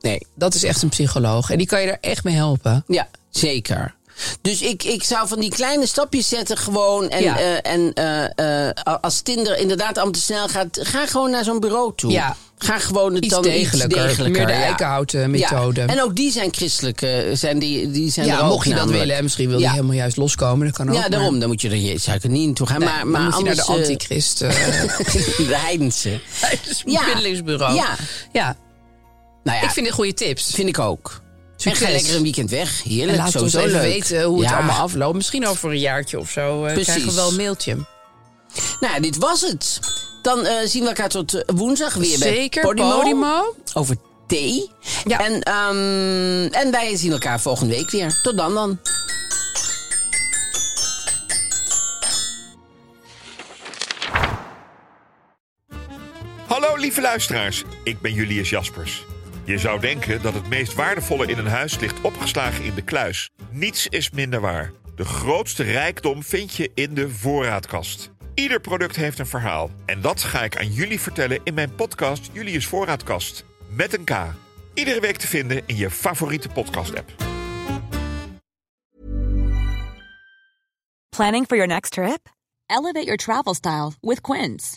Speaker 4: Nee,
Speaker 3: Dat is echt een psycholoog. En die kan je daar echt mee helpen.
Speaker 4: ja, zeker. Dus ik, ik zou van die kleine stapjes zetten gewoon. En,
Speaker 3: Ja.
Speaker 4: eh, en eh, eh, als Tinder inderdaad allemaal te snel gaat, ga gewoon naar zo'n bureau toe.
Speaker 3: Ja.
Speaker 4: Ga gewoon het
Speaker 3: Iets
Speaker 4: dan
Speaker 3: degelijker,
Speaker 4: iets degelijker.
Speaker 3: meer de
Speaker 4: ja.
Speaker 3: eikenhouten
Speaker 4: Ja.
Speaker 3: methode.
Speaker 4: En ook die zijn christelijk. eh, Zijn die, die zijn er
Speaker 3: Ja,
Speaker 4: ook
Speaker 3: mocht je dat
Speaker 4: namelijk.
Speaker 3: willen. En misschien wil je
Speaker 4: Ja.
Speaker 3: helemaal juist loskomen. Dat kan ook.
Speaker 4: Ja,
Speaker 3: maar-
Speaker 4: daarom. Dan moet je er je zou ik er niet naartoe gaan.
Speaker 3: Nee,
Speaker 4: maar
Speaker 3: dan
Speaker 4: maar
Speaker 3: moet je
Speaker 4: anders,
Speaker 3: naar de
Speaker 4: eh,
Speaker 3: antichrist. eh,
Speaker 4: de heidense. Ja.
Speaker 3: bemiddelingsbureau.
Speaker 4: Ja.
Speaker 3: ja.
Speaker 4: Nou ja,
Speaker 3: Ik vind dit goede tips.
Speaker 4: vind ik ook.
Speaker 3: Succes.
Speaker 4: En ga lekker een weekend weg.
Speaker 3: En
Speaker 4: Heerlijk,
Speaker 3: laat ons
Speaker 4: sowieso
Speaker 3: even
Speaker 4: leuk.
Speaker 3: weten hoe het
Speaker 4: Ja.
Speaker 3: allemaal afloopt. Misschien over een jaartje of zo eh,
Speaker 4: Precies.
Speaker 3: krijgen we wel een mailtje.
Speaker 4: Nou, ja, dit was het. Dan eh, zien we elkaar tot eh, woensdag weer
Speaker 3: Zeker,
Speaker 4: bij Podimo.
Speaker 3: Podimo.
Speaker 4: Over thee.
Speaker 3: Ja.
Speaker 4: En, ehm, en wij zien elkaar volgende week weer. Tot dan dan.
Speaker 5: Hallo lieve luisteraars, ik ben Julius Jaspers. Je zou denken dat het meest waardevolle in een huis ligt opgeslagen in de kluis. Niets is minder waar. De grootste rijkdom vind je in de voorraadkast. Ieder product heeft een verhaal. En dat ga ik aan jullie vertellen in mijn podcast Julius Voorraadkast. Met een K. Iedere week te vinden in je favoriete podcast-app.
Speaker 6: Planning for your next trip? Elevate your travel style with Quince.